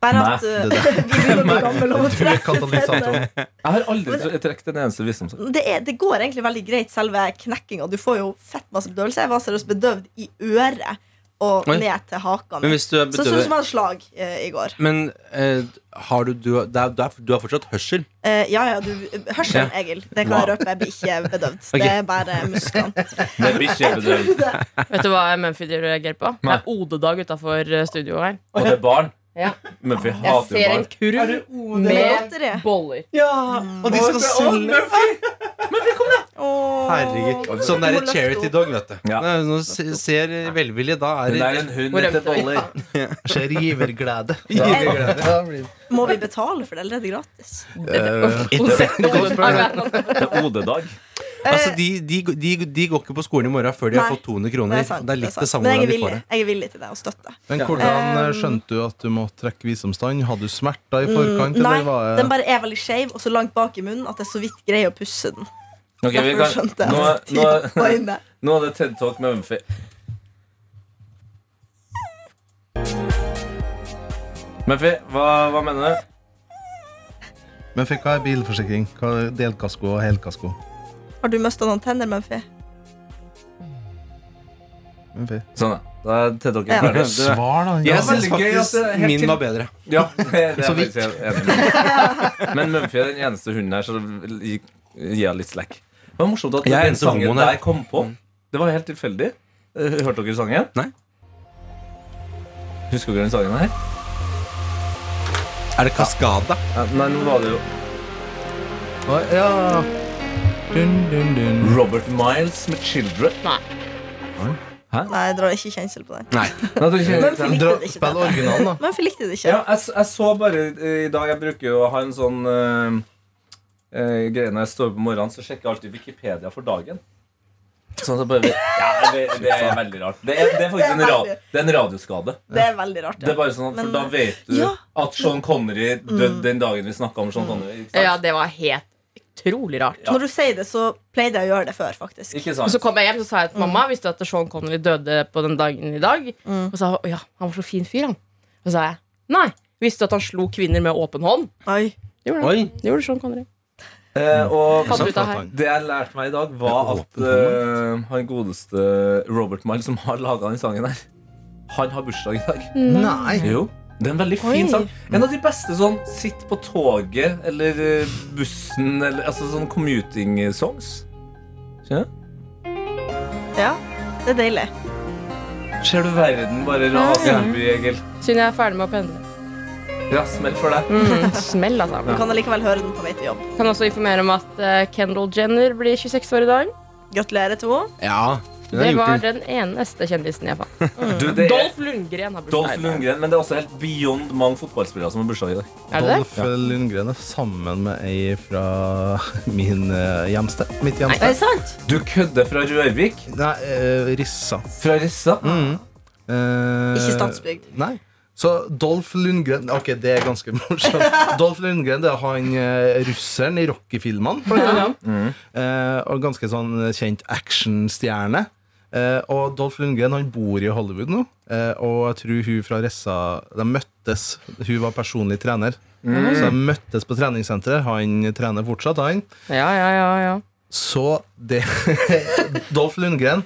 Speaker 4: Bare at
Speaker 5: Nei,
Speaker 4: eh,
Speaker 6: det
Speaker 4: vi begynner å bli gamle og
Speaker 6: Du er katalysatoren.
Speaker 5: Jeg har aldri tr- trukket en eneste visdomstann.
Speaker 4: det, er, det går egentlig veldig greit, selve knekkinga. Du får jo fett masse bedøvelse. Jeg var seriøst bedøvd i øret og
Speaker 2: Oi.
Speaker 4: ned til haka.
Speaker 2: Men
Speaker 4: mi.
Speaker 2: hvis du er
Speaker 4: Så sånn som
Speaker 2: bedøvet
Speaker 4: han slag eh, i går.
Speaker 2: Men eh, har du, du, det er, du, er, du har fortsatt hørsel?
Speaker 4: Eh, ja, ja, du Hørselen, Egil. Det kan jeg røpe. Jeg blir ikke bedøvd.
Speaker 2: Ok.
Speaker 4: Det er bare musklene.
Speaker 5: Det blir ikke bedøvd.
Speaker 3: Vet du hva Mumphy driver og reagerer på? Det er odedag utafor studioet her.
Speaker 5: Og det er barn.
Speaker 3: Ja.
Speaker 5: Mumphy
Speaker 3: Jeg
Speaker 5: hater
Speaker 3: ser
Speaker 5: jo
Speaker 3: en
Speaker 5: barn.
Speaker 3: kurv med
Speaker 4: Godteri.
Speaker 3: boller.
Speaker 2: Og de skal synge
Speaker 4: Åh.
Speaker 2: Herregud. Sånn der charity dog, vet du.
Speaker 5: Ja.
Speaker 2: Når når du ser velvillig, da er
Speaker 5: Hun
Speaker 2: det
Speaker 5: er en hund
Speaker 3: Hvor
Speaker 5: etter
Speaker 3: rømte vi?
Speaker 5: boller.
Speaker 6: Ser giverglede.
Speaker 4: Må vi betale for det, eller er det gratis?
Speaker 2: Eh,
Speaker 5: Det er odedag.
Speaker 2: Altså, de, de, de, de går ikke på skolen i morgen før de har
Speaker 4: Nei.
Speaker 2: fått 200 kroner. Det er,
Speaker 4: sant,
Speaker 2: litt
Speaker 4: sant.
Speaker 2: det samme
Speaker 4: Men jeg er
Speaker 2: hvordan de
Speaker 4: villig,
Speaker 2: får det.
Speaker 4: jeg er villig til det, og støtte.
Speaker 6: Men hvordan eh,
Speaker 4: Um,
Speaker 6: skjønte du at du måtte trekke visdomstann? Hadde du smerter i forkant?
Speaker 4: Mm, Nei,
Speaker 6: eller var
Speaker 4: den bare er veldig skeiv og så langt bak i munnen at jeg så vidt greier å pusse den.
Speaker 5: Ok, vi
Speaker 4: Derfor
Speaker 5: kan,
Speaker 4: skjønte jeg
Speaker 5: nå,
Speaker 4: at
Speaker 5: nå,
Speaker 4: tiden var inne.
Speaker 5: nå er det TED Talk med Mumphy. Mumphy, hva, hva mener du?
Speaker 6: Men fikk jeg bilforsikring? Hva er Delkasko og helkasko?
Speaker 4: Har du mista noen tenner, Mumphy?
Speaker 6: Men fy-
Speaker 5: Sånn, ja. Da er TED Talk
Speaker 4: Ja.
Speaker 5: ferdig. Det-
Speaker 6: Svar, da.
Speaker 5: Ja,
Speaker 2: Jeg syns
Speaker 5: veldig gøy at det er
Speaker 2: faktisk
Speaker 5: helt
Speaker 2: min
Speaker 5: til-
Speaker 2: var bedre.
Speaker 5: Ja, det er
Speaker 6: Så
Speaker 5: jeg
Speaker 6: vidt.
Speaker 5: faktisk enig med. Men Mumphy er den eneste hunden her, så gi- gi henne litt slack. Det var morsomt at
Speaker 2: Jeg er
Speaker 5: den
Speaker 2: eneste
Speaker 5: sangen
Speaker 2: homoen
Speaker 5: der
Speaker 2: her. Mm.
Speaker 5: kom på. Det var helt tilfeldig. Eh, Hørte dere sangen?
Speaker 2: Nei.
Speaker 5: Husker dere den sangen her?
Speaker 2: Er det Kaskada?
Speaker 5: Ja, Nei, nå var det jo
Speaker 6: Oi, Ja. Dun, dun, dun.
Speaker 5: Robert Miles med 'Children'.
Speaker 4: Nei, jeg drar ikke kjensel på den.
Speaker 5: Nei, det er ikke-
Speaker 4: Mumphy likte
Speaker 6: Dra,
Speaker 4: det ikke.
Speaker 6: spill originalen, da.
Speaker 4: Mumphy likte det ikke.
Speaker 5: Ja, jeg, s- jeg så bare eh, i dag Jeg bruker jo å ha en sånn eh, eh, greie når jeg står opp om morgenen, så sjekker jeg alltid Wikipedia for dagen. Sånn at jeg bare ja, det, det er veldig rart. Det er, det er faktisk en, ra, det er en radioskade.
Speaker 4: Det er veldig rart.
Speaker 5: Det
Speaker 4: Ja.
Speaker 5: er bare sånn at,
Speaker 4: Men-
Speaker 5: For da vet du
Speaker 4: Ja.
Speaker 5: at Sean Connery døde den dagen vi snakka om Sean Connery. Ikke sant?
Speaker 3: Ja, det var helt utrolig rart.
Speaker 4: Når du sier det, så pleide jeg å gjøre det før, faktisk.
Speaker 5: Ikke
Speaker 3: Og
Speaker 5: sant?
Speaker 3: så kom jeg hjem så sa jeg til mamma Visste du at Sean Connery døde på den dagen i dag? Og sa hun, ja, han var så fin fyr han Og så sa jeg, nei, visste du at han slo kvinner med åpen hånd?
Speaker 4: Oi.
Speaker 3: Det gjorde han
Speaker 2: Oi.
Speaker 3: Det gjorde Sean Connery
Speaker 5: Eh, og
Speaker 3: Fant ut av her
Speaker 5: det jeg lærte meg i dag, var
Speaker 2: Det
Speaker 5: at eh, han godeste Robert Mile, som har laga den sangen her, han har bursdag i dag.
Speaker 4: Mm.
Speaker 6: Nei.
Speaker 5: Jo, det er en veldig
Speaker 3: Oi.
Speaker 5: fin sang. En av de beste sånn sitt på toget eller eh, bussen eller altså sånn commuting songs. Skjønner du?
Speaker 4: Ja, det er deilig.
Speaker 5: Ser du verden bare raser forbi, Egil?
Speaker 3: Siden jeg er ferdig med å pendle
Speaker 5: Ja, smell for deg.
Speaker 3: mm, Smell altså
Speaker 4: Du kan allikevel høre den på vei til jobb.
Speaker 3: Kan også informere om at eh, Kendall Jenner blir 26 år i dag
Speaker 4: Gratulerer til henne.
Speaker 2: Ja.
Speaker 3: Det var den eneste kjendisen jeg fant
Speaker 5: Du, det er
Speaker 3: Dolph Lundgren har
Speaker 5: Dolph
Speaker 3: bursdag i dag.
Speaker 5: Lundgren, men det er også helt beyond mange fotballspillere som har bursdag i dag.
Speaker 3: Er det det?
Speaker 6: Dolph Lundgren er sammen med ei fra min eh, hjemsted. Mitt
Speaker 4: Er det
Speaker 6: hjemsted.
Speaker 4: sant?
Speaker 5: Du kødder fra Rørvik?
Speaker 6: Nei, eh, Rissa.
Speaker 5: Fra Rissa?
Speaker 6: Eh,
Speaker 4: Ikke Stadsbygd.
Speaker 6: Nei. Så Dolph Lundgren Ok, det er ganske morsomt. Dolph Lundgren det er han eh, russeren i Rocky-filmene. blant annet. Eh, og ganske sånn kjent actionstjerne. Eh, og Dolph Lundgren han bor i Hollywood nå. Eh, og jeg tror hun fra Ressa De møttes. Hun var personlig trener.
Speaker 4: Mm.
Speaker 6: Så de møttes på treningssenteret. Han trener fortsatt, han.
Speaker 3: Ja, ja, ja, ja.
Speaker 6: Så det Dolph Lundgren,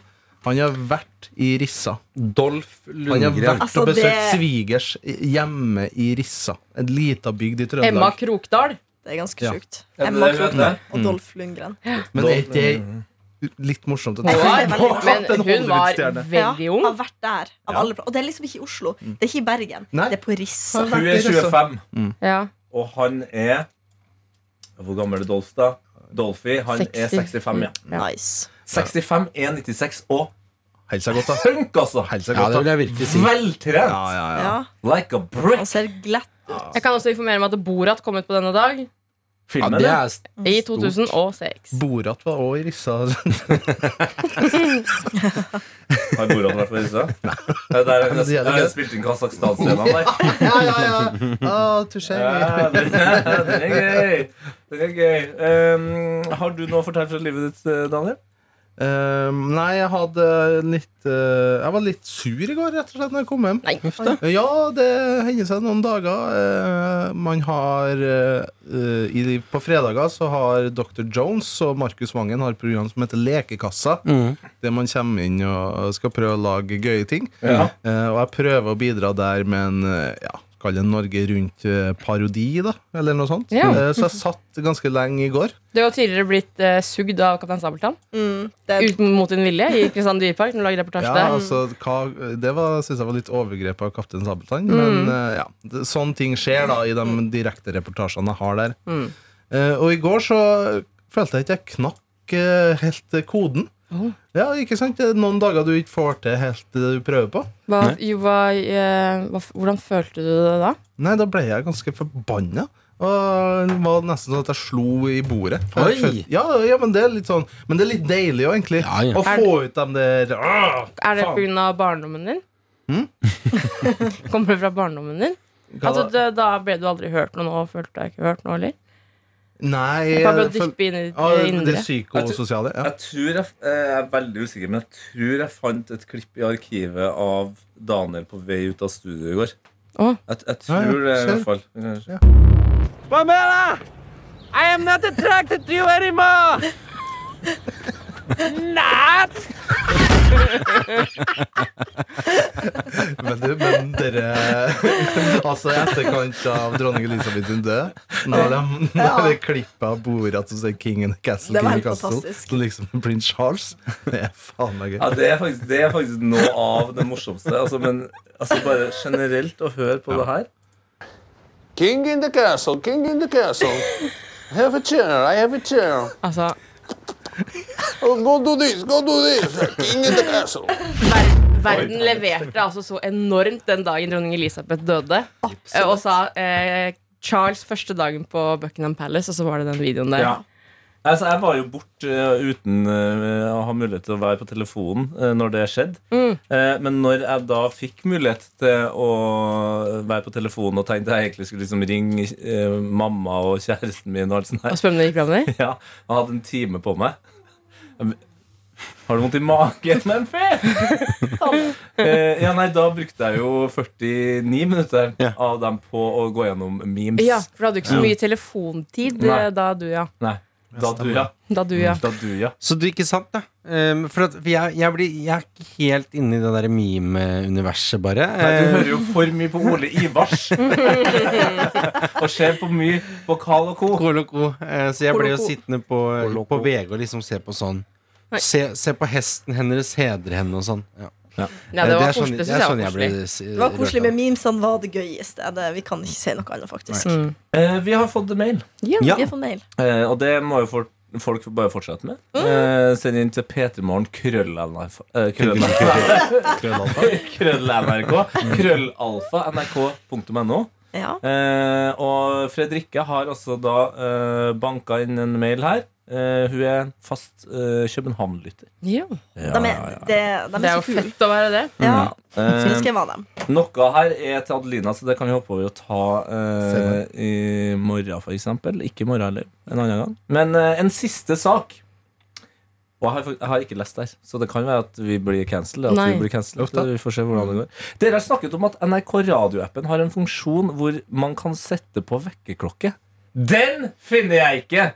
Speaker 6: han har vært i Rissa.
Speaker 2: Dolph
Speaker 6: Han har
Speaker 2: Lundgren.
Speaker 6: vært
Speaker 4: Altså,
Speaker 6: og besøkt
Speaker 4: det-
Speaker 6: svigers hjemme i Rissa. En lita bygd i
Speaker 3: Emma
Speaker 6: Trøndelag.
Speaker 3: Krokdal
Speaker 4: Det er ganske
Speaker 6: Ja.
Speaker 4: sjukt.
Speaker 5: Ja, men
Speaker 4: Emma
Speaker 5: det er jo
Speaker 4: Krogdal
Speaker 5: det.
Speaker 2: Mm.
Speaker 4: og Dolph Lundgren.
Speaker 6: Men er ikke det litt morsomt? At
Speaker 4: Jeg synes det er
Speaker 3: Hun
Speaker 4: veldig
Speaker 3: var- Men
Speaker 6: En
Speaker 3: hun var
Speaker 6: Hollywood-stjerne.
Speaker 3: veldig
Speaker 4: Ja,
Speaker 3: ung
Speaker 4: har vært der. Av alle, pla- og det er liksom ikke i Oslo.
Speaker 2: Mm.
Speaker 4: Det er ikke i Bergen.
Speaker 6: Nei.
Speaker 4: Det er på Rissa.
Speaker 5: Hun er 25,
Speaker 3: Ja
Speaker 5: og han er Hvor gammel er Dolph, da? Dolphy, han er
Speaker 3: 60.
Speaker 5: 65, ja.
Speaker 4: Nice.
Speaker 5: 65, 1,96 og
Speaker 6: Held seg godt, da.
Speaker 5: punk, altså!
Speaker 6: Held seg
Speaker 2: Ja, det
Speaker 6: godt,
Speaker 2: vil
Speaker 6: da.
Speaker 2: jeg virkelig si.
Speaker 5: Veltrent!
Speaker 6: Ja, ja, ja.
Speaker 4: Ja,
Speaker 5: Like a brick!
Speaker 4: han ser glatt ut.
Speaker 3: Jeg kan også informere om at Borat kom ut på denne dag
Speaker 2: Ja,
Speaker 5: Filmen,
Speaker 2: det
Speaker 5: ja,
Speaker 2: er st-
Speaker 3: i 2006.
Speaker 6: Borat var òg i Rissa.
Speaker 5: har Borat vært på Rissa? Det er der
Speaker 6: det gjelder
Speaker 5: jeg har
Speaker 6: ikke.
Speaker 5: spilt inn Kasakhstan-scenen der.
Speaker 6: ja, ja, ja. Å, touché.
Speaker 5: Ja, den er den er gøy! Den er gøy. Um, har du noe å fortelle fra livet ditt, eh, Daniel?
Speaker 6: Ehm, nei, jeg hadde litt eh, Jeg var litt sur i går, rett og slett, når jeg kom hjem.
Speaker 3: Nei.
Speaker 6: Ja, det hender seg noen dager. eh, man har eh, eh, i, På fredager så har Dr. Jones og Markus Vangen har et program som heter Lekekassa. Der man kommer inn og skal prøve å lage gøye ting.
Speaker 5: Ja.
Speaker 6: Eh, og jeg prøver å bidra der med en eh, ja, kall det Norge Rundt-parodi, da. Eller noe sånt.
Speaker 3: Ja.
Speaker 6: Eh, så jeg satt ganske lenge i går.
Speaker 3: Du har tidligere blitt eh, sugd av Kaptein Sabeltann
Speaker 4: Mm, det er,
Speaker 3: ut mot din vilje i Kristiansand Dyrepark. Når du lager reportasje
Speaker 6: Ja,
Speaker 3: der
Speaker 6: altså, hva, det var- synes jeg var litt overgrep av Kaptein Sabeltann.
Speaker 3: Mm.
Speaker 6: Men eh, ja, det- sånne ting skjer da i de direkte reportasjene jeg har der.
Speaker 3: Mm.
Speaker 6: Eh, og i går så følte jeg ikke jeg knakk eh, helt eh, koden.
Speaker 3: Oh.
Speaker 6: Ja, ikke sant? Det er noen dager du ikke får til helt det du prøver på.
Speaker 3: hva, jo, hva, eh, hva, Hvordan følte du det da?
Speaker 6: Nei, da ble jeg ganske forbanna. Og det var nesten sånn at jeg slo i bordet. For jeg
Speaker 2: Oi!
Speaker 6: følte- Ja, ja, men det er litt sånn Men det er litt deilig òg, egentlig.
Speaker 2: Ja, ja.
Speaker 6: Å få ut dem der ah,
Speaker 3: Er det
Speaker 6: Faen.
Speaker 3: pga. barndommen din? Kommer det fra barndommen din?
Speaker 6: hva
Speaker 3: Altså,
Speaker 6: da?
Speaker 3: det, da ble du aldri hørt noe nå? Følte jeg ikke hørt noe heller?
Speaker 6: Nei
Speaker 3: Jeg kan bare
Speaker 6: jeg føl-
Speaker 3: dyppe inn i ditt
Speaker 6: Ja,
Speaker 3: eh,
Speaker 6: det- det
Speaker 3: indre.
Speaker 6: psykososiale. Ja.
Speaker 5: Jeg tror jeg, f- eh, jeg er veldig usikker, men jeg tror jeg fant et klipp i arkivet av Daniel på vei ut av studio i går.
Speaker 3: Å.
Speaker 5: Jeg, jeg
Speaker 6: Ja, ja,
Speaker 5: tror det, i
Speaker 6: se.
Speaker 5: hvert fall. Kanskje.
Speaker 7: Pamela, I am not attracted to you anymore. not.
Speaker 6: Men, du, men dere Altså, i etterkant av dronning Elisabeth sin død, når de, når de klipper av Borat som sier King and Castle,
Speaker 4: Det var
Speaker 6: King
Speaker 4: helt
Speaker 6: and Castle,
Speaker 4: fantastisk.
Speaker 6: så liksom prins Charles Det er faen meg gøy.
Speaker 5: Ja, det er, faktisk, det er faktisk noe av det morsomste. Altså, men altså, bare generelt å høre på det her
Speaker 8: King in the castle, king in the castle. I have a chair, I have a chair.
Speaker 3: Altså,
Speaker 8: Oh, go do this, go do this. King in the castle.
Speaker 3: ver verden leverte altså så enormt den dagen dronning Elisabeth døde. Eh, Og sa eh, Charles første dagen på Buckingham Palace, og så var det den videoen der.
Speaker 5: Altså, jeg var jo bort eh, uten eh, å ha mulighet til å være på telefonen eh, når det skjedde. Eh, men når jeg da fikk mulighet til å være på telefonen og tenkte jeg egentlig skulle liksom ringe eh, mamma og kjæresten min og alt sånt
Speaker 3: Og
Speaker 5: her,
Speaker 3: spør om det gikk bra med deg?
Speaker 5: ja, og hadde en time på meg Har du vondt i magen, Menfie? eh, ja, nei, da brukte jeg jo 49 minutter
Speaker 2: Ja.
Speaker 5: av dem på å gå gjennom memes.
Speaker 3: Ja, for du hadde jo ikke så mye telefontid eh,
Speaker 5: Nei.
Speaker 3: da du, ja.
Speaker 5: Nei, da du, ja.
Speaker 3: Da du, ja.
Speaker 5: Da du, ja.
Speaker 2: Så du, ikke sant, da? Um, for at, for jeg, jeg, blir, jeg er ikke helt inne i det der meme-universet, bare.
Speaker 5: Nei, du
Speaker 2: Eh,
Speaker 5: hører jo for mye på Ole Ivars. og ser for mye på Carl og Co.
Speaker 2: Kolo Co. Eh, Så jeg ble jo
Speaker 3: Kolo Co.
Speaker 2: sittende på, eh, på VG og liksom se på sånn.
Speaker 3: Nei.
Speaker 2: Se, se på hesten hennes, hedre henne og sånn. Ja.
Speaker 3: ja det
Speaker 2: Eh,
Speaker 3: var
Speaker 2: er sånn-
Speaker 3: koselig. Det
Speaker 2: det er
Speaker 3: synes
Speaker 2: sånn
Speaker 3: jeg var
Speaker 2: jeg ble
Speaker 3: koselig.
Speaker 2: s-
Speaker 4: Det var koselig,
Speaker 2: rørt
Speaker 4: men memesene var det gøyeste. Det, vi kan ikke si noe annet, faktisk.
Speaker 3: Mm.
Speaker 5: Eh, vi har fått mail,
Speaker 2: Ja.
Speaker 4: Vi har fått mail.
Speaker 5: eh, og det må jo for, folk bare fortsette med. Eh, send inn til P3morgen krøllalfa eh, krøllalfa- Krøllalfa. Krøllalfa. nrk.no.
Speaker 4: Ja.
Speaker 5: Eh, og Fredrikke har også da eh, banka inn en mail her. Eh, hun er fast eh, København-lytter.
Speaker 3: Ja.
Speaker 4: De er, de, de
Speaker 3: Det
Speaker 4: er
Speaker 3: er
Speaker 4: så
Speaker 3: jo
Speaker 4: kule.
Speaker 3: fett å være det.
Speaker 4: Ja,
Speaker 5: Eh,
Speaker 4: skulle ønske jeg var dem.
Speaker 5: Noe her er til Adelina, så det kan vi håpe over å ta eh, i morgen, for eksempel. Ikke i morgen heller, en annen gang. Men eh, en siste sak. Og jeg har, fak- jeg har ikke lest der, så det kan være at vi blir cancelled. At
Speaker 3: Nei.
Speaker 5: vi blir cancelled.
Speaker 2: Ofte.
Speaker 5: Vi får se hvordan det går. Dere har snakket om at NRK radioappen har en funksjon hvor man kan sette på vekkerklokke. Den finner jeg ikke!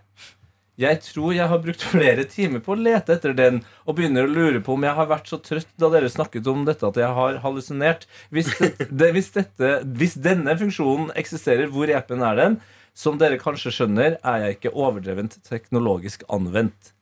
Speaker 5: Jeg tror jeg har brukt flere timer på å lete etter den, og begynner å lure på om jeg har vært så trøtt da dere snakket om dette at jeg har hallusinert. Hvis, det, det, hvis, dette, hvis denne funksjonen eksisterer, hvor i appen er den? Som dere kanskje skjønner, er jeg ikke overdrevent teknologisk anvendt.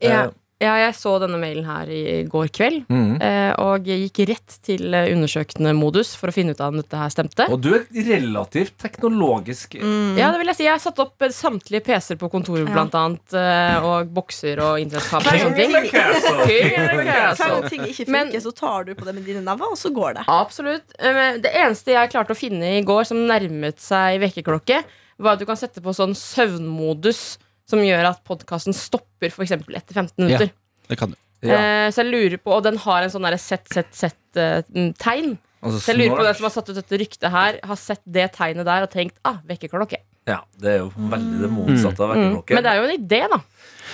Speaker 3: Ja.
Speaker 5: Eh,
Speaker 3: Ja, jeg så denne mailen her i går kveld.
Speaker 5: mm.
Speaker 3: eh, Og jeg gikk rett til eh, undersøkende modus for å finne ut av om dette her stemte.
Speaker 5: Og du er relativt teknologisk.
Speaker 3: Ja, det vil Jeg si Jeg har satt opp eh, samtlige PC-er på kontoret,
Speaker 4: Ja.
Speaker 3: blant annet. eh, Og bokser og internettkabler og
Speaker 5: King
Speaker 3: sånne ting.
Speaker 5: of the castle.
Speaker 3: King altså. of the
Speaker 4: Hver
Speaker 3: castle.
Speaker 4: gang ting ikke
Speaker 3: Men-
Speaker 4: funker, så tar du på det med dine never, og så går det.
Speaker 3: Absolutt. Eh, Det eneste jeg klarte å finne i går som nærmet seg vekkerklokke, var at du kan sette på sånn søvnmodus som gjør at podkasten stopper for eksempel etter 15 minutter.
Speaker 2: Det kan du.
Speaker 5: Ja,
Speaker 3: Eh, Så jeg lurer på, Og den har en sånn derre sett, sett, sett-tegn.
Speaker 5: altså
Speaker 3: Så jeg lurer på
Speaker 5: snort.
Speaker 3: den som har satt ut dette ryktet her, har sett det tegnet der og tenkt ah, vekkerklokke.
Speaker 5: Ja, det er jo veldig det motsatte av
Speaker 3: Mm.
Speaker 5: vekkerklokke.
Speaker 3: Men det er jo en idé, da.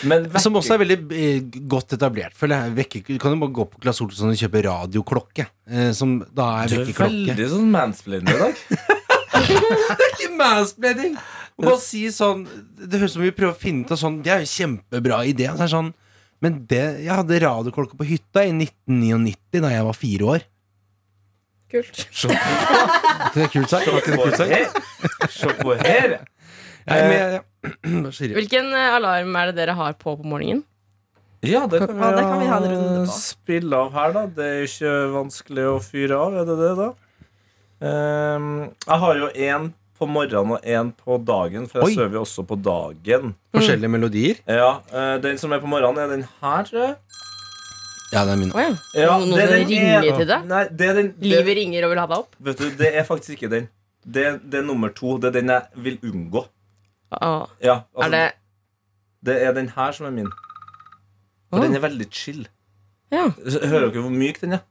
Speaker 5: Men
Speaker 2: Som
Speaker 5: vekker-
Speaker 2: også er veldig eh, godt etablert. Føler jeg. Vekker, du kan jo bare gå på Claes Olsson og kjøpe radioklokke, eh, som da er
Speaker 5: Du er
Speaker 2: vekkerklokke.
Speaker 5: veldig sånn mansplaining i dag.
Speaker 2: Ikke mansplaining! Å Bare si sånn Det høres ut som vi prøver å finne ut av sånn Det er jo kjempebra idé. Så er det sånn, men det, jeg hadde radioklokke på hytta i 1999, da jeg var fire år.
Speaker 3: Kult.
Speaker 2: Var ikke det kult sagt? Var ikke det kult sagt?
Speaker 5: Se på her.
Speaker 2: Nei, men jeg- Bare sier det.
Speaker 3: Hvilken eh, alarm er det dere har på på morgenen?
Speaker 5: Ja, det kan,
Speaker 4: Ja, det kan vi ha en
Speaker 5: eh,
Speaker 4: runde på.
Speaker 5: spille av her, da. Det er ikke vanskelig å fyre av, er det det, da? Ehm, jeg har jo én på morgenen og én på dagen, for
Speaker 2: Oi.
Speaker 5: jeg sover jo også på dagen.
Speaker 2: Forskjellige melodier.
Speaker 5: Ja, eh, Den som er på morgenen, er den her, tror jeg.
Speaker 2: Ja, det er min.
Speaker 3: Å ja.
Speaker 5: Ja,
Speaker 3: Noen
Speaker 5: det er
Speaker 3: som
Speaker 5: den
Speaker 3: ringer
Speaker 5: ene-
Speaker 3: til deg?
Speaker 5: Nei, det er den,
Speaker 3: Livet
Speaker 5: det,
Speaker 3: ringer og vil ha deg opp?
Speaker 5: vet du, det er faktisk ikke den. Det, det er nummer to. Det er den jeg vil unngå.
Speaker 3: Ah,
Speaker 5: Ja, altså,
Speaker 3: er det
Speaker 5: Det er den her som er min. For
Speaker 3: Ah.
Speaker 5: den er veldig chill.
Speaker 3: Ja.
Speaker 5: Så Hører dere hvor myk den er?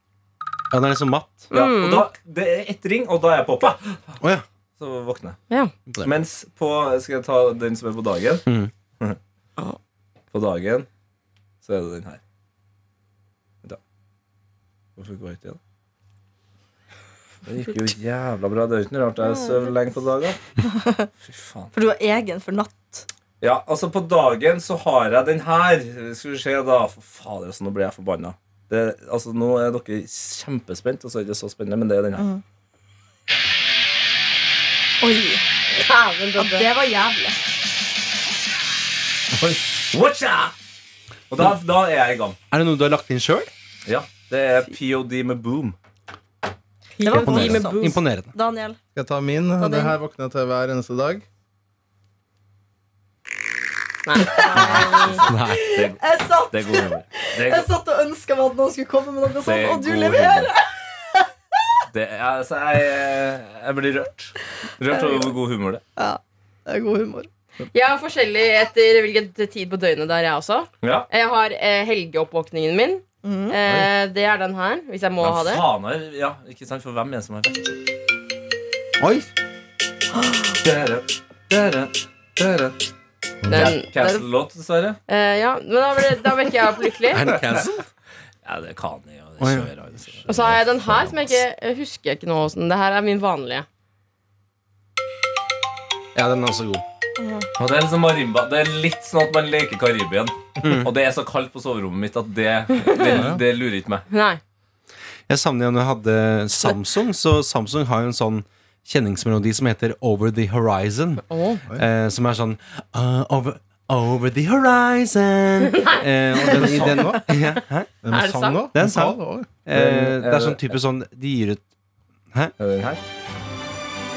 Speaker 2: Ja, den er liksom matt.
Speaker 5: Ja,
Speaker 3: Mm.
Speaker 5: og da, det er ett ring, og da er jeg poppa.
Speaker 2: Å, ja.
Speaker 5: Så våkner jeg.
Speaker 3: Ja.
Speaker 5: Mens på Skal jeg ta den som er på dagen?
Speaker 3: Mm.
Speaker 5: på dagen så er det den her. Vent, da. Hvorfor går ikke den? Det gikk jo jævla bra. Det er jo ikke noe rart jeg sover lenge på dagen. Fy faen.
Speaker 4: For du har egen for natt.
Speaker 5: Ja, altså på dagen så har jeg den her. Skal vi se, da. For fader, altså, nå blir jeg forbanna. Det, altså, nå er dere kjempespent, og så er det ikke så spennende, men det er den her.
Speaker 4: Oi,
Speaker 3: Dæven,
Speaker 4: ja,
Speaker 3: Dodde.
Speaker 4: det var jævlig.
Speaker 5: Watch out! Og da, da er jeg i gang.
Speaker 2: Er det noe du har lagt inn sjøl?
Speaker 5: Ja, Det er POD med boom.
Speaker 4: Det var voldsomt.
Speaker 2: Imponerende.
Speaker 4: Daniel.
Speaker 6: Skal jeg ta min?
Speaker 4: din.
Speaker 6: Det her våkner jeg til hver eneste dag.
Speaker 2: Nei.
Speaker 4: Jeg satt,
Speaker 5: Det er god humor. Det er
Speaker 4: jeg
Speaker 5: god-
Speaker 4: satt og ønska meg at noen skulle komme med noe
Speaker 5: det er
Speaker 4: sånt, sånn og du
Speaker 5: god
Speaker 4: leverer!
Speaker 5: humor. Det er, altså, jeg, jeg blir rørt. Rørt over hvor god humor det er.
Speaker 4: Det er god humor.
Speaker 3: Jeg er forskjellig etter hvilken tid på døgnet det er, jeg også.
Speaker 5: Ja.
Speaker 3: Jeg har eh, helgeoppvåkningen min. Eh, det er den her, hvis jeg må ha
Speaker 5: Men
Speaker 3: det.
Speaker 5: faen, er- ja, ikke sant, for hvem er det som har
Speaker 2: Oi!
Speaker 5: Dere, dere, dere.
Speaker 3: Den, den,
Speaker 5: Castle-låt, dessverre.
Speaker 3: eh, ja, men da, ble, da vekker jeg opp lykkelig.
Speaker 2: Er den cancelled?
Speaker 5: Ja, det kan jeg jo. Det
Speaker 2: Oi.
Speaker 5: kjører jeg, altså.
Speaker 3: Og så har jeg den her, som jeg ikke jeg husker ikke noe åssen. Det her er min vanlige.
Speaker 2: Ja, den er også god.
Speaker 5: Og det er liksom marimba. Det er litt sånn at man leker Karibien. Og det er så kaldt på soverommet mitt at det, det, det lurer ikke meg.
Speaker 3: Nei.
Speaker 2: Jeg savner jo når jeg hadde Samsung, så Samsung har jo en sånn kjenningsmelodi som heter Over the Horizon. Eh, som er sånn uh, over, over the horizon. Eh, og den, i den, ja, hæ?
Speaker 6: Den
Speaker 3: Er det sant?
Speaker 6: da?
Speaker 2: Det er en sang.
Speaker 6: Vokal også.
Speaker 2: eh, det er sånn type sånn De gir ut
Speaker 5: Er det den her?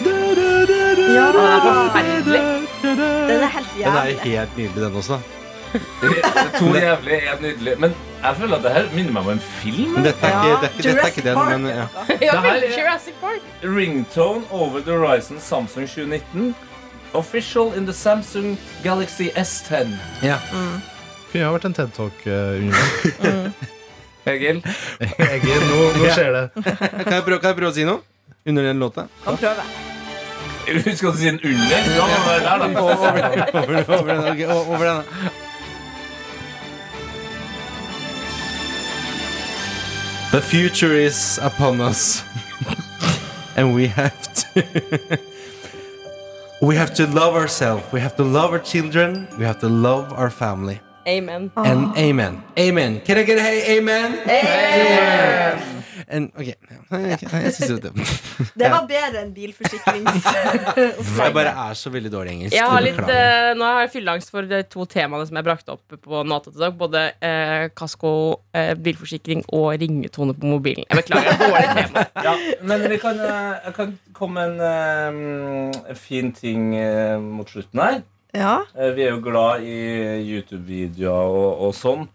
Speaker 4: Ja,
Speaker 3: Å, det er forferdelig.
Speaker 4: den er helt
Speaker 2: Den er jo
Speaker 4: jævlig.
Speaker 2: helt nydelig, den også. da.
Speaker 5: To jævlig, en nydelig. Men jeg føler at det her minner meg om en film.
Speaker 2: Men dette er ikke, det er ikke, dette er ikke den, men ja.
Speaker 4: Park.
Speaker 3: Ja,
Speaker 5: Det her-
Speaker 3: veldig Jurassic Park.
Speaker 5: Ringtone Over the Horizon Samsung 2019. Official in the Samsung Galaxy S10.
Speaker 6: Kunne ha vært en TED Talk eh, under.
Speaker 5: Egil?
Speaker 6: Egil, nå, nå skjer det.
Speaker 2: Kan jeg prøve, kan jeg prøve å si noe? Under den låta?
Speaker 4: Kan prøve.
Speaker 5: Husk at du sier en under. Ja, men det er der, da.
Speaker 2: Over, over, over den. ok, over den. The future is upon us. And we have to We have to love ourselves. We have to love our children. We have to love our family.
Speaker 3: Amen.
Speaker 2: And amen. Amen. Can I get a hey, amen? And, okay. Jeg synes det
Speaker 4: Det var bedre enn bilforsikrings...
Speaker 2: Jeg bare er så veldig dårlig i engelsk.
Speaker 3: Jeg har litt,
Speaker 2: Beklager.
Speaker 3: eh, nå har jeg fylleangst for de to temaene som jeg brakte opp på Nata til dag. Både eh, kasko, eh, bilforsikring og ringetone på mobilen. Jeg beklager. det er Dårlig tema.
Speaker 5: Ja, men vi kan, eh, jeg kan komme med en eh, fin ting eh, mot slutten her.
Speaker 4: Ja.
Speaker 5: Eh, Vi er jo glad i YouTube-videoer og, og sånn.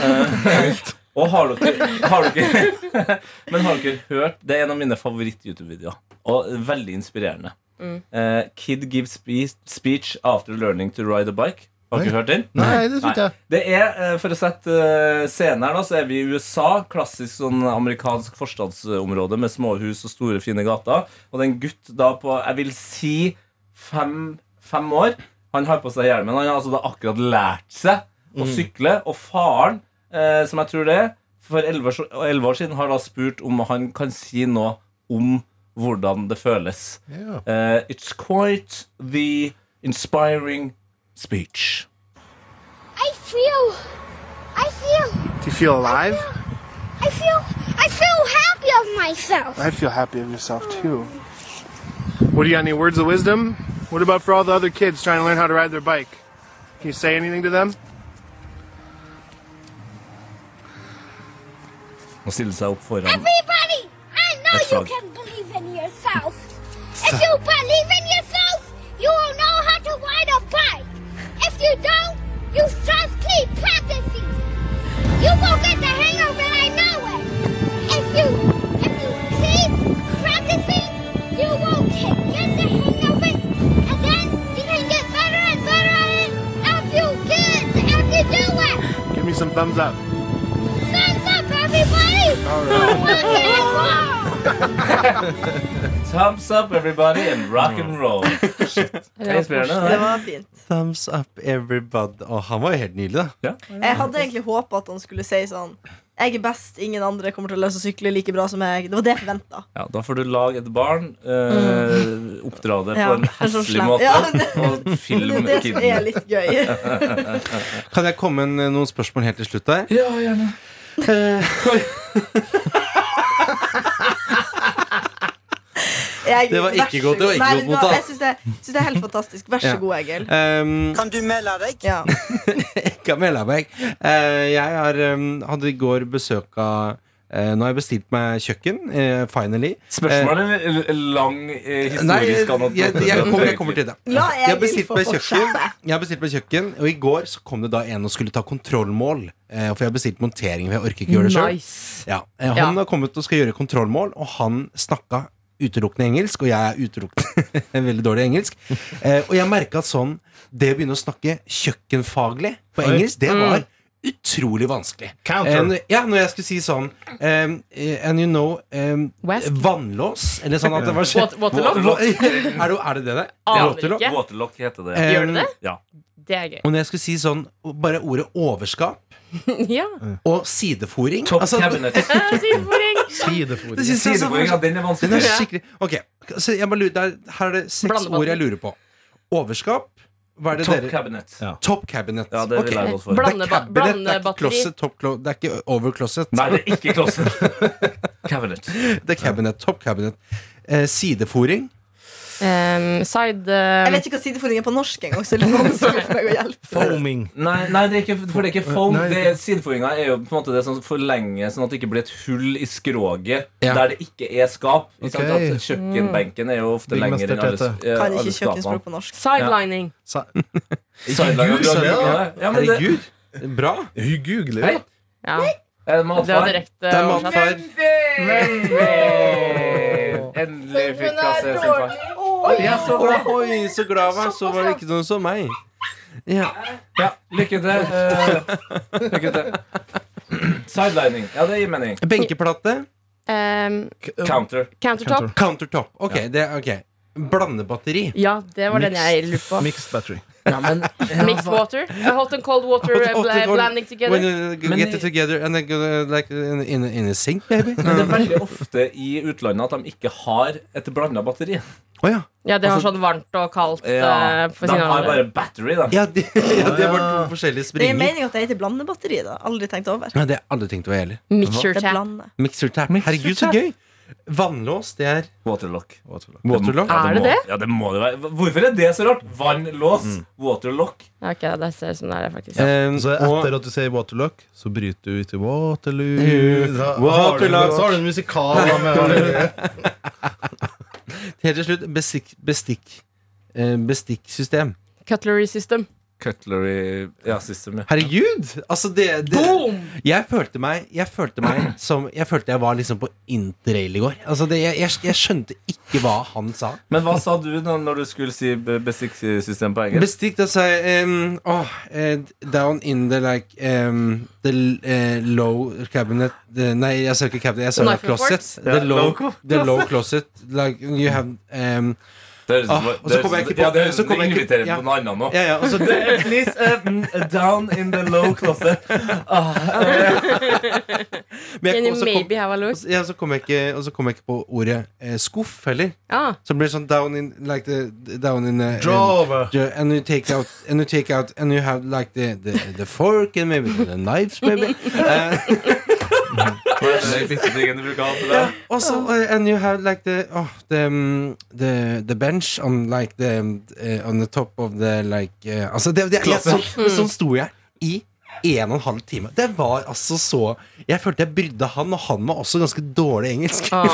Speaker 5: Eh, og har dere, har dere Men har dere hørt Det er en av mine favoritt-YouTube-videoer. Og veldig inspirerende. Eh, Kid gives spe- speech after learning to ride a bike. Har dere hørt den?
Speaker 6: Nei, det tror ikke jeg.
Speaker 5: Det er, eh, For å sette eh, scenen her, da, så er vi i USA. Klassisk sånn amerikansk forstadsområde med småhus og store, fine gater. Og det er en gutt da på jeg vil si fem, fem år. Han har på seg hjelmen. Han har altså da akkurat lært seg å sykle. Og faren, eh, som jeg tror det er, for elleve år, og 11 år siden har da spurt om han kan si noe om hvordan det føles.
Speaker 6: Ja.
Speaker 5: Eh, it's quite the inspiring speech.
Speaker 9: I feel. I feel.
Speaker 10: Do you feel alive?
Speaker 9: I feel. I feel happy of myself.
Speaker 10: I feel happy of yourself too. What do you got? Any words of wisdom? What about for all the other kids trying to learn how to ride their bike? Can you say anything to them?
Speaker 5: Å stille seg opp foran
Speaker 9: Everybody, I know
Speaker 5: That's
Speaker 9: you
Speaker 5: right.
Speaker 9: can believe in yourself. If you believe in yourself, you will know how to ride a bike. If you don't, you just keep practicing. You will get the hang of it. I know it. If you if you keep practicing, you will get get the hang of it, and then you can get better and better at it. If you get, if you do it,
Speaker 10: Give me some thumbs up.
Speaker 9: thumbs up, everybody. All right.
Speaker 5: Thumbs up, everybody, and rock and roll. Det er inspirerende.
Speaker 4: Det
Speaker 5: det.
Speaker 4: var fint.
Speaker 2: Thumbs up, everybody. Å, han var jo helt nydelig, da.
Speaker 4: Jeg hadde egentlig håpet at han skulle si sånn Jeg er best, ingen andre kommer til å løse å sykle like bra som meg. Det var det jeg forventa.
Speaker 5: Ja, da får du lage et barn, eh, oppdra det
Speaker 4: Mm. Ja,
Speaker 5: på en
Speaker 4: en sånn
Speaker 5: heslig
Speaker 4: slem-
Speaker 5: måte,
Speaker 4: Ja, men-
Speaker 5: og
Speaker 4: Det er
Speaker 5: film
Speaker 4: det som er
Speaker 5: kiden.
Speaker 4: litt gøy.
Speaker 2: Kan jeg komme med noen spørsmål helt til slutt der?
Speaker 5: Ja, gjerne.
Speaker 4: Jeg,
Speaker 2: Det var ikke
Speaker 4: vær så
Speaker 2: godt, det var ikke
Speaker 4: Nei,
Speaker 2: godt
Speaker 4: vet du hva,
Speaker 2: mottatt.
Speaker 4: Jeg syns det, jeg synes det er helt fantastisk. Vær så
Speaker 2: Ja.
Speaker 4: god, Egil.
Speaker 2: Um,
Speaker 11: Kan du melde deg?
Speaker 4: Ja.
Speaker 2: Kamel Abeik. Eh, jeg har, eh, hadde i går besøk av eh, Nå har jeg bestilt meg kjøkken, eh, finally.
Speaker 5: Spørsmål eller eller lang eh,
Speaker 2: Nei, jeg,
Speaker 5: historisk
Speaker 2: jeg, jeg, kommer- jeg kommer til det.
Speaker 4: La
Speaker 2: Jeg har
Speaker 4: Egil
Speaker 2: bestilt
Speaker 4: få
Speaker 2: meg kjøkken,
Speaker 4: fortsette.
Speaker 2: jeg har bestilt meg kjøkken og i går så kom det da en og skulle ta kontrollmål. Eh, for jeg har bestilt montering, for jeg orker ikke gjøre det sjøl.
Speaker 3: Nice.
Speaker 2: Ja, eh, han
Speaker 3: Ja.
Speaker 2: har kommet og skal gjøre kontrollmål, og han snakka utelukkende engelsk, og jeg er utelukkende veldig dårlig i engelsk. Eh, og jeg merka at sånn Det å begynne å snakke kjøkkenfaglig på
Speaker 11: Oi.
Speaker 2: engelsk, det var
Speaker 11: Mm.
Speaker 2: utrolig vanskelig.
Speaker 11: Counter.
Speaker 2: Eh, når- ja, når jeg skulle si sånn um, eh, And you know um, Vannlås? Eller sånn at det var
Speaker 3: Wat- waterlock?
Speaker 2: Er det, er det det det?
Speaker 3: Aner
Speaker 2: Waterlock?
Speaker 3: ikke.
Speaker 5: Waterlock heter det.
Speaker 2: Gjør det det?
Speaker 5: Ja.
Speaker 3: Det er gøy.
Speaker 2: Og når jeg skulle si sånn Bare ordet overskap
Speaker 3: ja.
Speaker 2: og sidefòring
Speaker 5: Top
Speaker 2: altså,
Speaker 5: cabinet.
Speaker 3: Sidefòring.
Speaker 2: Sidefòring.
Speaker 5: Det synes jeg er så Sidefòring, ja, den er vanskelig.
Speaker 2: Den er skikkelig Ok, så jeg bare lurer, der, Her er det seks
Speaker 5: Blandevann.
Speaker 2: ord jeg lurer på. Overskap hva er det
Speaker 5: Top
Speaker 2: dere-
Speaker 5: cabinet. Ja.
Speaker 2: Top cabinet.
Speaker 5: Ja, det vil
Speaker 2: Ok.
Speaker 5: jeg gå for.
Speaker 2: Det er
Speaker 5: Blande-
Speaker 2: cabinet, det er ikke
Speaker 5: blandebatteri.
Speaker 2: closet, top clo det er ikke over closet.
Speaker 5: Nei, det er ikke closet. cabinet.
Speaker 2: Det er cabinet, top cabinet. Eh, sidefòring.
Speaker 3: Um, side
Speaker 4: Jeg vet ikke hva sidefòring er på norsk engang, så det er vanskelig for meg å hjelpe.
Speaker 2: Foaming.
Speaker 5: Nei, nei det er ikke, for det er ikke foam.
Speaker 2: Nei,
Speaker 5: Det er, sidefòringa er jo på en måte det som forlenger, sånn at det ikke blir et hull i skroget
Speaker 2: Ja.
Speaker 5: der det ikke er skap. Ikke sant?
Speaker 11: Ok.
Speaker 5: At kjøkkenbenken er jo ofte
Speaker 11: Mm.
Speaker 5: lenger enn alle,
Speaker 11: Byggmester Tete.
Speaker 5: eh,
Speaker 11: Kan
Speaker 5: alle
Speaker 11: ikke kjøkkenspråk
Speaker 5: skapene.
Speaker 4: på norsk.
Speaker 3: Sidelining.
Speaker 5: Sidelining
Speaker 11: Gud,
Speaker 5: er bra,
Speaker 11: sa jeg
Speaker 5: ja.
Speaker 11: det?
Speaker 5: Ja, men det-
Speaker 11: Herregud.
Speaker 2: Bra.
Speaker 11: Hun googler
Speaker 5: Hei.
Speaker 3: Ja.
Speaker 5: Er det matfar?
Speaker 3: Det var direkte
Speaker 5: Det er
Speaker 3: oversatt.
Speaker 5: matfar. Endelig! Endelig fikk jeg se sin far. Oi, jeg er så glad.
Speaker 2: Oi, så glad var jeg. Så var det ikke noen som meg. Ja.
Speaker 5: Ja, lykke til. eh, lykke til. Sidelining. Ja, det gir mening.
Speaker 2: Benkeplate.
Speaker 3: Um,
Speaker 5: Counter.
Speaker 3: Countertop.
Speaker 2: Countertop. Ok, det er ok. Blandebatteri.
Speaker 3: Ja, det var den jeg lurte på.
Speaker 2: Mixed battery.
Speaker 3: Mixed water. Uh, hot and cold water uh, bla- blending
Speaker 2: When
Speaker 3: together.
Speaker 2: you
Speaker 5: Men-
Speaker 2: get it together and then go, like in, in, in a sink, maybe?
Speaker 5: Men det er veldig ofte i utlandet at de ikke har et blanda batteri.
Speaker 3: Ja, det var
Speaker 5: Altså-
Speaker 3: sånn varmt og kaldt.
Speaker 5: Ja,
Speaker 3: uh, for
Speaker 5: de
Speaker 3: sine
Speaker 5: har
Speaker 3: andre.
Speaker 5: bare battery, da.
Speaker 2: Ja, det, ja, det var to forskjellige
Speaker 4: Det er
Speaker 2: springer.
Speaker 4: meningen at det heter blandebatteri, da. Aldri tenkt over.
Speaker 2: Nei, det har jeg aldri tenkt over, jeg heller.
Speaker 4: Mixer
Speaker 2: Hva?
Speaker 4: tap. Det blande.
Speaker 2: Mixer tap. Herregud, så gøy! Vannlås, det er
Speaker 5: Waterlock. Waterlock.
Speaker 2: Waterlock?
Speaker 5: Ja,
Speaker 3: Er det
Speaker 5: må,
Speaker 3: det?
Speaker 5: Ja, det må det være. Hvorfor er det så rart? Vannlås, waterlock.
Speaker 3: Ok, det ser ut som det er, faktisk.
Speaker 2: Eh,
Speaker 11: Så etter at du sier Waterlock, så bryter du ut i Waterloo. Så har du-
Speaker 2: Waterlock.
Speaker 11: Så har du en musikal da, med
Speaker 2: Helt til slutt bestikk, bestikk, eh, bestikksystem.
Speaker 3: Cutlery system.
Speaker 5: Cutlery Ja, system, ja.
Speaker 2: Herregud! Altså, det, det Jeg følte meg Jeg følte meg som Jeg følte jeg var liksom på interrail i går. Altså, det, jeg, jeg, jeg skjønte ikke hva han sa.
Speaker 5: Men hva sa du da når du skulle si bestikksystem på engelsk?
Speaker 2: Bestikk, da sa jeg um, oh, eh, Down in the like um, The eh, low cabinet the, Nei, jeg sa ikke cabinet, jeg sa
Speaker 11: Knife and
Speaker 2: closet
Speaker 11: fork?
Speaker 2: the,
Speaker 11: Ja,
Speaker 2: low,
Speaker 11: low-
Speaker 2: the low closet Like you have um,
Speaker 5: Det høres ut
Speaker 2: ah,
Speaker 5: som-
Speaker 2: Og
Speaker 5: det
Speaker 2: så
Speaker 5: høres
Speaker 2: kommer jeg
Speaker 5: ut-
Speaker 2: ikke
Speaker 5: ja,
Speaker 2: på
Speaker 5: det
Speaker 2: så
Speaker 5: høres ut som
Speaker 2: kommer
Speaker 5: du
Speaker 2: jeg ikke-
Speaker 5: inviterer
Speaker 2: ja.
Speaker 5: på noe annet nå.
Speaker 2: Ja, ja, og så-
Speaker 5: Please, uh, mm, down in the low closet. Ah,
Speaker 2: Men jeg-
Speaker 3: Can you
Speaker 2: og så kom-
Speaker 3: maybe have a look?
Speaker 2: og så- Ja, så kom jeg ikke, og så kom jeg ikke på ordet eh, skuff heller.
Speaker 3: Ah.
Speaker 2: Som blir det sånn down in like the the- down in the,
Speaker 11: Drawer.
Speaker 2: the- and you take out and you take out and you have like the the, the fork and maybe the knives maybe. Eh,
Speaker 5: Hva er det siste tingen du bruker å ha på deg?
Speaker 2: og så eh, and you have like the oh, the, um, the the bench on like the um, eh, on the top of the like eh, Altså det, det, jeg, sånn,
Speaker 11: Klasse.
Speaker 2: sånn sto jeg i en og en halv time. Det var altså så Jeg følte jeg brydde han, og han var også ganske dårlig engelsk.
Speaker 3: Ah,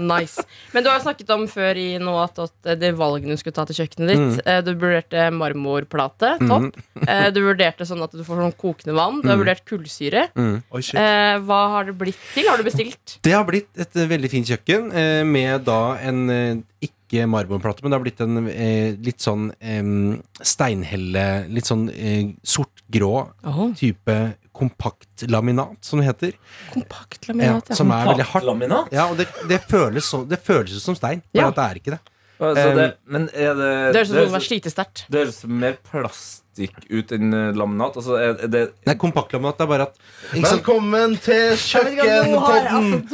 Speaker 3: nice. Men du har jo snakket om før i nå at, at eh, det valgene du skulle ta til kjøkkenet ditt.
Speaker 2: Mm. Mm-hmm.
Speaker 3: eh, Du vurderte marmorplate. Topp. Eh, Du vurderte sånn at du får sånn kokende vann. Du har
Speaker 2: Mm.
Speaker 3: vurdert kullsyre.
Speaker 2: Mm.
Speaker 3: Eh, Hva har det blitt til? Har du bestilt?
Speaker 2: Det har blitt et eh, veldig fint kjøkken eh, med da en eh, ikke marmorplate, men det har blitt en eh, litt sånn em, steinhelle Litt sånn eh, sort-grå type kompakt laminat, som det heter.
Speaker 3: Kompakt
Speaker 2: Ja, som er veldig hardt.
Speaker 5: Laminat?
Speaker 2: Ja, og det, det, føles så, det føles ut som stein, bare
Speaker 3: Ja.
Speaker 2: at det er ikke det.
Speaker 5: Altså,
Speaker 2: Em,
Speaker 5: det, men er det
Speaker 3: Det høres ut som
Speaker 5: det
Speaker 3: det var slitesterkt.
Speaker 5: Det høres mer plastikk ut enn eh, laminat. Altså, er, er det
Speaker 2: Nei, kompakt laminat er bare at ikke sant?
Speaker 11: Velkommen til
Speaker 4: Nå har jeg altså
Speaker 11: kjøkkenpodden!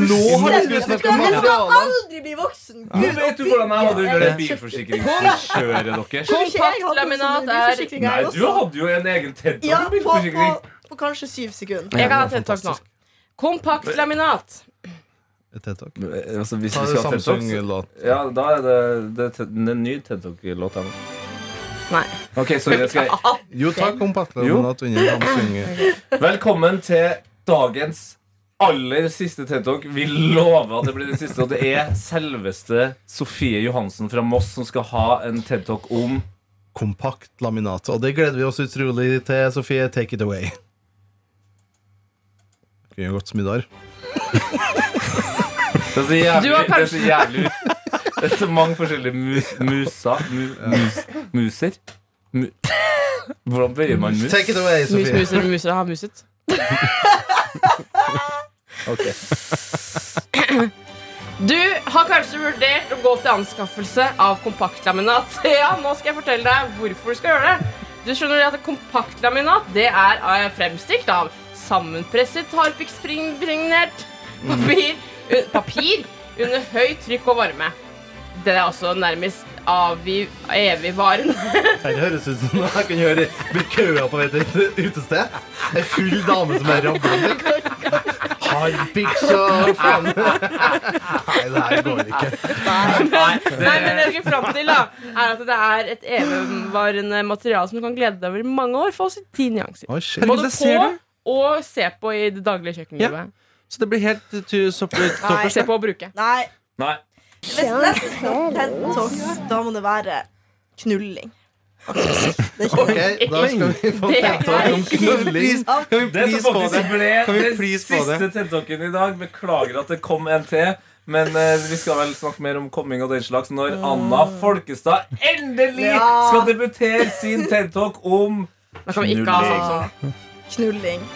Speaker 2: Nå har
Speaker 4: Vet
Speaker 2: du
Speaker 4: du hva,
Speaker 2: snakket om
Speaker 4: Jeg skal
Speaker 2: materialer.
Speaker 4: aldri bli voksen!
Speaker 5: Nå vet du hvordan jeg hadde under det bilforsikringskjøret deres.
Speaker 4: Tror du ikke jeg hadde
Speaker 3: Kompakt
Speaker 4: sånn
Speaker 3: laminat er
Speaker 4: bilforsikring,
Speaker 5: Nei,
Speaker 4: jeg
Speaker 5: du
Speaker 4: også?
Speaker 5: hadde jo en egen TED-talk
Speaker 4: Ja,
Speaker 5: om
Speaker 4: på, på,
Speaker 5: bilforsikring.
Speaker 4: på kanskje syv sekunder.
Speaker 3: Jeg kan ha TED-talk nå. Kompakt laminat.
Speaker 5: Eh, Altså, hvis
Speaker 11: Ta
Speaker 5: vi skal
Speaker 11: det
Speaker 5: ha TED-talk, så-
Speaker 11: Samsung-låt.
Speaker 5: Ja, da er det, det, er te- det er en ny TED-talk-låt. her nå.
Speaker 3: Nei.
Speaker 5: Ok, sorry, jeg skal
Speaker 11: Jo, ta kompaktlaminat under Samsung.
Speaker 5: Velkommen til dagens aller siste TED Talk. Vi lover at det blir den siste. Og det er selveste Sofie Johansen fra Moss som skal ha en TED Talk om
Speaker 11: Kompakt laminat. Og det gleder vi oss utrolig til, Sofie. Take it away. Kunne jo gått som i dag.
Speaker 5: Det er så
Speaker 3: Du
Speaker 5: jævlig,
Speaker 3: har
Speaker 5: det er så
Speaker 3: kanskje-
Speaker 5: jævlig Det er så mange forskjellige mus, muser mu, mus, Muser mu, Hvordan bøyer man mus?
Speaker 11: Take it away,
Speaker 3: Mus, muser, muser har muset.
Speaker 5: Ok.
Speaker 3: Du har kanskje vurdert å gå til anskaffelse av kompaktlaminat. Ja, nå skal jeg fortelle deg hvorfor du skal gjøre det. Du skjønner at kompaktlaminat det er eh, fremstilt av sammenpresset harpikspregnert papir, eh, papir under høyt trykk og varme. Det er også nærmest avgiv- evigvarende.
Speaker 11: Her høres ut som jeg kan høre blir køa på vei til et utested. Ei full dame som er rablende. Harpiks og faen. Nei, det her går ikke.
Speaker 3: Nei, men det jeg skal fram til, da, er at det er et evigvarende materiale som du kan glede deg over i mange år. For oss i ti nyanser.
Speaker 2: Oi, shit. Herregud,
Speaker 3: Både
Speaker 2: jeg ser
Speaker 3: på
Speaker 2: det.
Speaker 3: og se på i det daglige kjøkkenlivet.
Speaker 2: Så det blir helt eh, tu- sopp-
Speaker 3: Nei, se
Speaker 2: toppers.
Speaker 3: på og bruke.
Speaker 4: Nei.
Speaker 5: Nei.
Speaker 4: Hvis neste skal TED Talks, da må det være knulling.
Speaker 11: Ok, da skal vi få
Speaker 4: Det er
Speaker 11: TED-talk om knulling. Kan vi
Speaker 5: Det
Speaker 11: please
Speaker 5: som
Speaker 11: få det?
Speaker 5: faktisk ble
Speaker 11: Kan vi
Speaker 5: den
Speaker 11: please få
Speaker 5: siste TED-talken i dag. Beklager at det kom en til. Men eh, vi skal vel snakke mer om coming og den slags når Anna Folkestad endelig
Speaker 4: Ja.
Speaker 5: skal debutere sin TED-talk om
Speaker 3: Da kan vi ikke ha sånn
Speaker 5: knulling.
Speaker 3: Samsung.
Speaker 4: Knulling.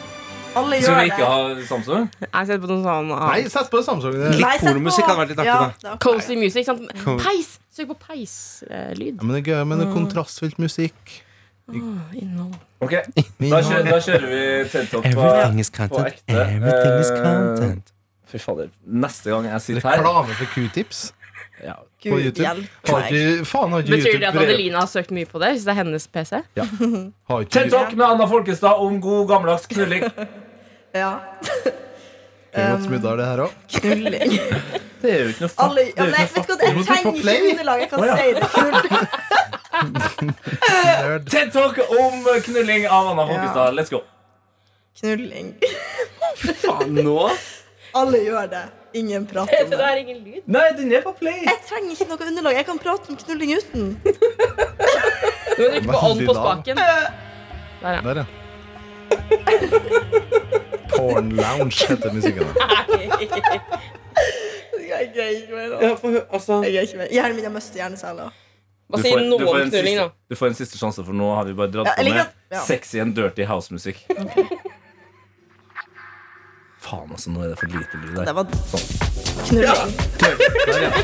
Speaker 4: Alle
Speaker 5: Skal
Speaker 4: gjør
Speaker 5: vi ikke
Speaker 4: det.
Speaker 5: ha Samsung?
Speaker 3: Jeg setter på noe sånn
Speaker 11: Nei,
Speaker 6: ah,
Speaker 3: annet.
Speaker 11: sett på Samsung. det.
Speaker 4: Nei,
Speaker 2: Litt
Speaker 4: sett på-
Speaker 2: pornomusikk hadde vært litt artig,
Speaker 4: Ja,
Speaker 2: da.
Speaker 4: det er ok.
Speaker 3: Cozy music. sant?
Speaker 2: Cozy.
Speaker 3: Peis! Søk på
Speaker 11: Ja,
Speaker 3: peislyd.
Speaker 11: men det er gøy med
Speaker 3: Mm.
Speaker 11: noe kontrastfylt musikk.
Speaker 3: Åh, Innhold.
Speaker 5: Ok, Da kjører, da kjører vi TED-talk på,
Speaker 2: Everything is
Speaker 5: på
Speaker 2: content.
Speaker 5: ekte.
Speaker 2: Everything is
Speaker 5: Eh,
Speaker 2: content.
Speaker 5: Fy fader. Neste gang jeg sitter her
Speaker 11: Reklame for Q-tips
Speaker 5: ja.
Speaker 11: på
Speaker 4: Gud
Speaker 11: YouTube.
Speaker 4: hjelpe
Speaker 11: Har
Speaker 4: meg.
Speaker 11: ikke, faen, har ikke
Speaker 3: Betyr det
Speaker 11: YouTube
Speaker 3: at
Speaker 11: brev-
Speaker 3: Adelina har søkt mye på det? Hvis det er hennes PC?
Speaker 11: har ikke-
Speaker 5: TED-talk med Anna Folkestad om god, gammeldags knulling.
Speaker 4: Ja,
Speaker 11: Kunne gått smuddere, det her også.
Speaker 4: knulling.
Speaker 5: Det er jo ikke noe fatt.
Speaker 4: Alle, ja,
Speaker 5: Det er jo
Speaker 4: nei,
Speaker 5: ikke
Speaker 4: vet
Speaker 5: noe
Speaker 4: du hva,
Speaker 11: Må
Speaker 4: jeg
Speaker 11: du på
Speaker 4: trenger ikke
Speaker 11: play?
Speaker 4: underlag. Jeg kan
Speaker 5: Å, ja.
Speaker 4: si det. Knulling.
Speaker 3: Eh.
Speaker 11: Nerd.
Speaker 5: TED-talk om knulling av Anna Folkestad. Let's go.
Speaker 4: Knulling.
Speaker 2: Faen, nå?
Speaker 4: Alle gjør det. Ingen prater om
Speaker 3: Det
Speaker 4: det.
Speaker 3: er ingen lyd.
Speaker 5: Nei, den er på play.
Speaker 4: Jeg trenger ikke noe underlag. Jeg kan prate om knulling uten.
Speaker 3: Du må trykke på on på spaken.
Speaker 11: Der, ja. Porn Lounge heter musikken. da.
Speaker 4: Jeg greier ikke mer. da.
Speaker 2: Ja, for, altså,
Speaker 4: Jeg greier ikke mer. Hjernen min har mistet hjerneceller.
Speaker 3: Bare si noe om knulling, da.
Speaker 5: siste, du får en siste sjanse, for nå har vi bare dratt
Speaker 4: Ja, jeg
Speaker 5: på
Speaker 4: liker
Speaker 5: med
Speaker 4: at- ja.
Speaker 5: sexy and dirty house-musikk. Faen, altså. Nå er det for lite lyd
Speaker 4: Det
Speaker 5: der.
Speaker 4: var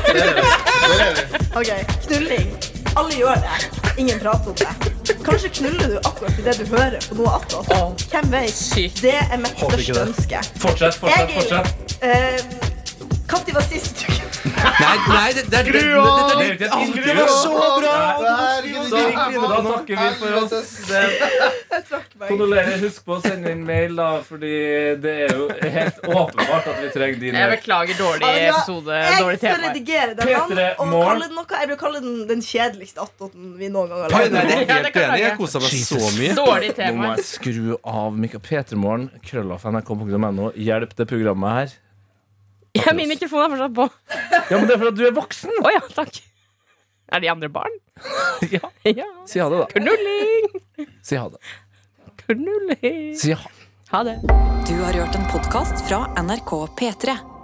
Speaker 4: knulling. Ok, knulling. Alle gjør det. Ingen prater om det. Kanskje knuller du akkurat i det du hører på noe attåt. Hvem vet?
Speaker 3: sykt.
Speaker 4: Det er mitt
Speaker 11: Håper ikke
Speaker 4: største ønske.
Speaker 5: Fortsett, fortsett,
Speaker 4: Jeg-
Speaker 5: fortsett.
Speaker 4: Eh, Når var sist du
Speaker 2: nei, nei, det, det, det, det, det, det,
Speaker 5: Det
Speaker 2: det,
Speaker 5: er jo ikke et
Speaker 2: det var så
Speaker 8: Oh,
Speaker 2: bra!
Speaker 11: Så,
Speaker 5: Da takker vi for oss. Det-
Speaker 4: trakk meg?
Speaker 5: Kondolerer. Husk på å sende inn mail, da, fordi det er jo helt åpenbart at vi trenger din
Speaker 3: Jeg
Speaker 5: hjelp.
Speaker 3: beklager dårlig
Speaker 4: Ja,
Speaker 3: episode.
Speaker 4: Jeg
Speaker 3: Dårlig
Speaker 4: skal
Speaker 3: tema.
Speaker 4: redigere den.
Speaker 5: P3
Speaker 4: han, Og
Speaker 5: morgen.
Speaker 4: kalle den noe, jeg vil kalle den den kjedeligste attåten vi noen gang har
Speaker 2: Nei,
Speaker 4: lagd.
Speaker 2: nei, det er
Speaker 3: Ja, det
Speaker 2: helt
Speaker 3: kan
Speaker 2: enig.
Speaker 3: jeg.
Speaker 2: Jeg kosa meg så mye.
Speaker 3: Dårlig
Speaker 5: Nå må
Speaker 3: tema.
Speaker 5: jeg skru av mikro... Petermorgen, krøllaf.nrk.no. Hjelp det programmet her.
Speaker 3: Ja, min mikrofon er fortsatt på.
Speaker 5: Ja, men det er fordi at du er voksen!
Speaker 3: Å ja, takk. Er de andre barn?
Speaker 5: Ja.
Speaker 3: Ja.
Speaker 5: Si ha det, da.
Speaker 3: Knulling,
Speaker 5: Si ha det.
Speaker 3: knulling.
Speaker 5: Si ha
Speaker 3: Ha det.
Speaker 1: Du har hørt en podkast fra NRK P3.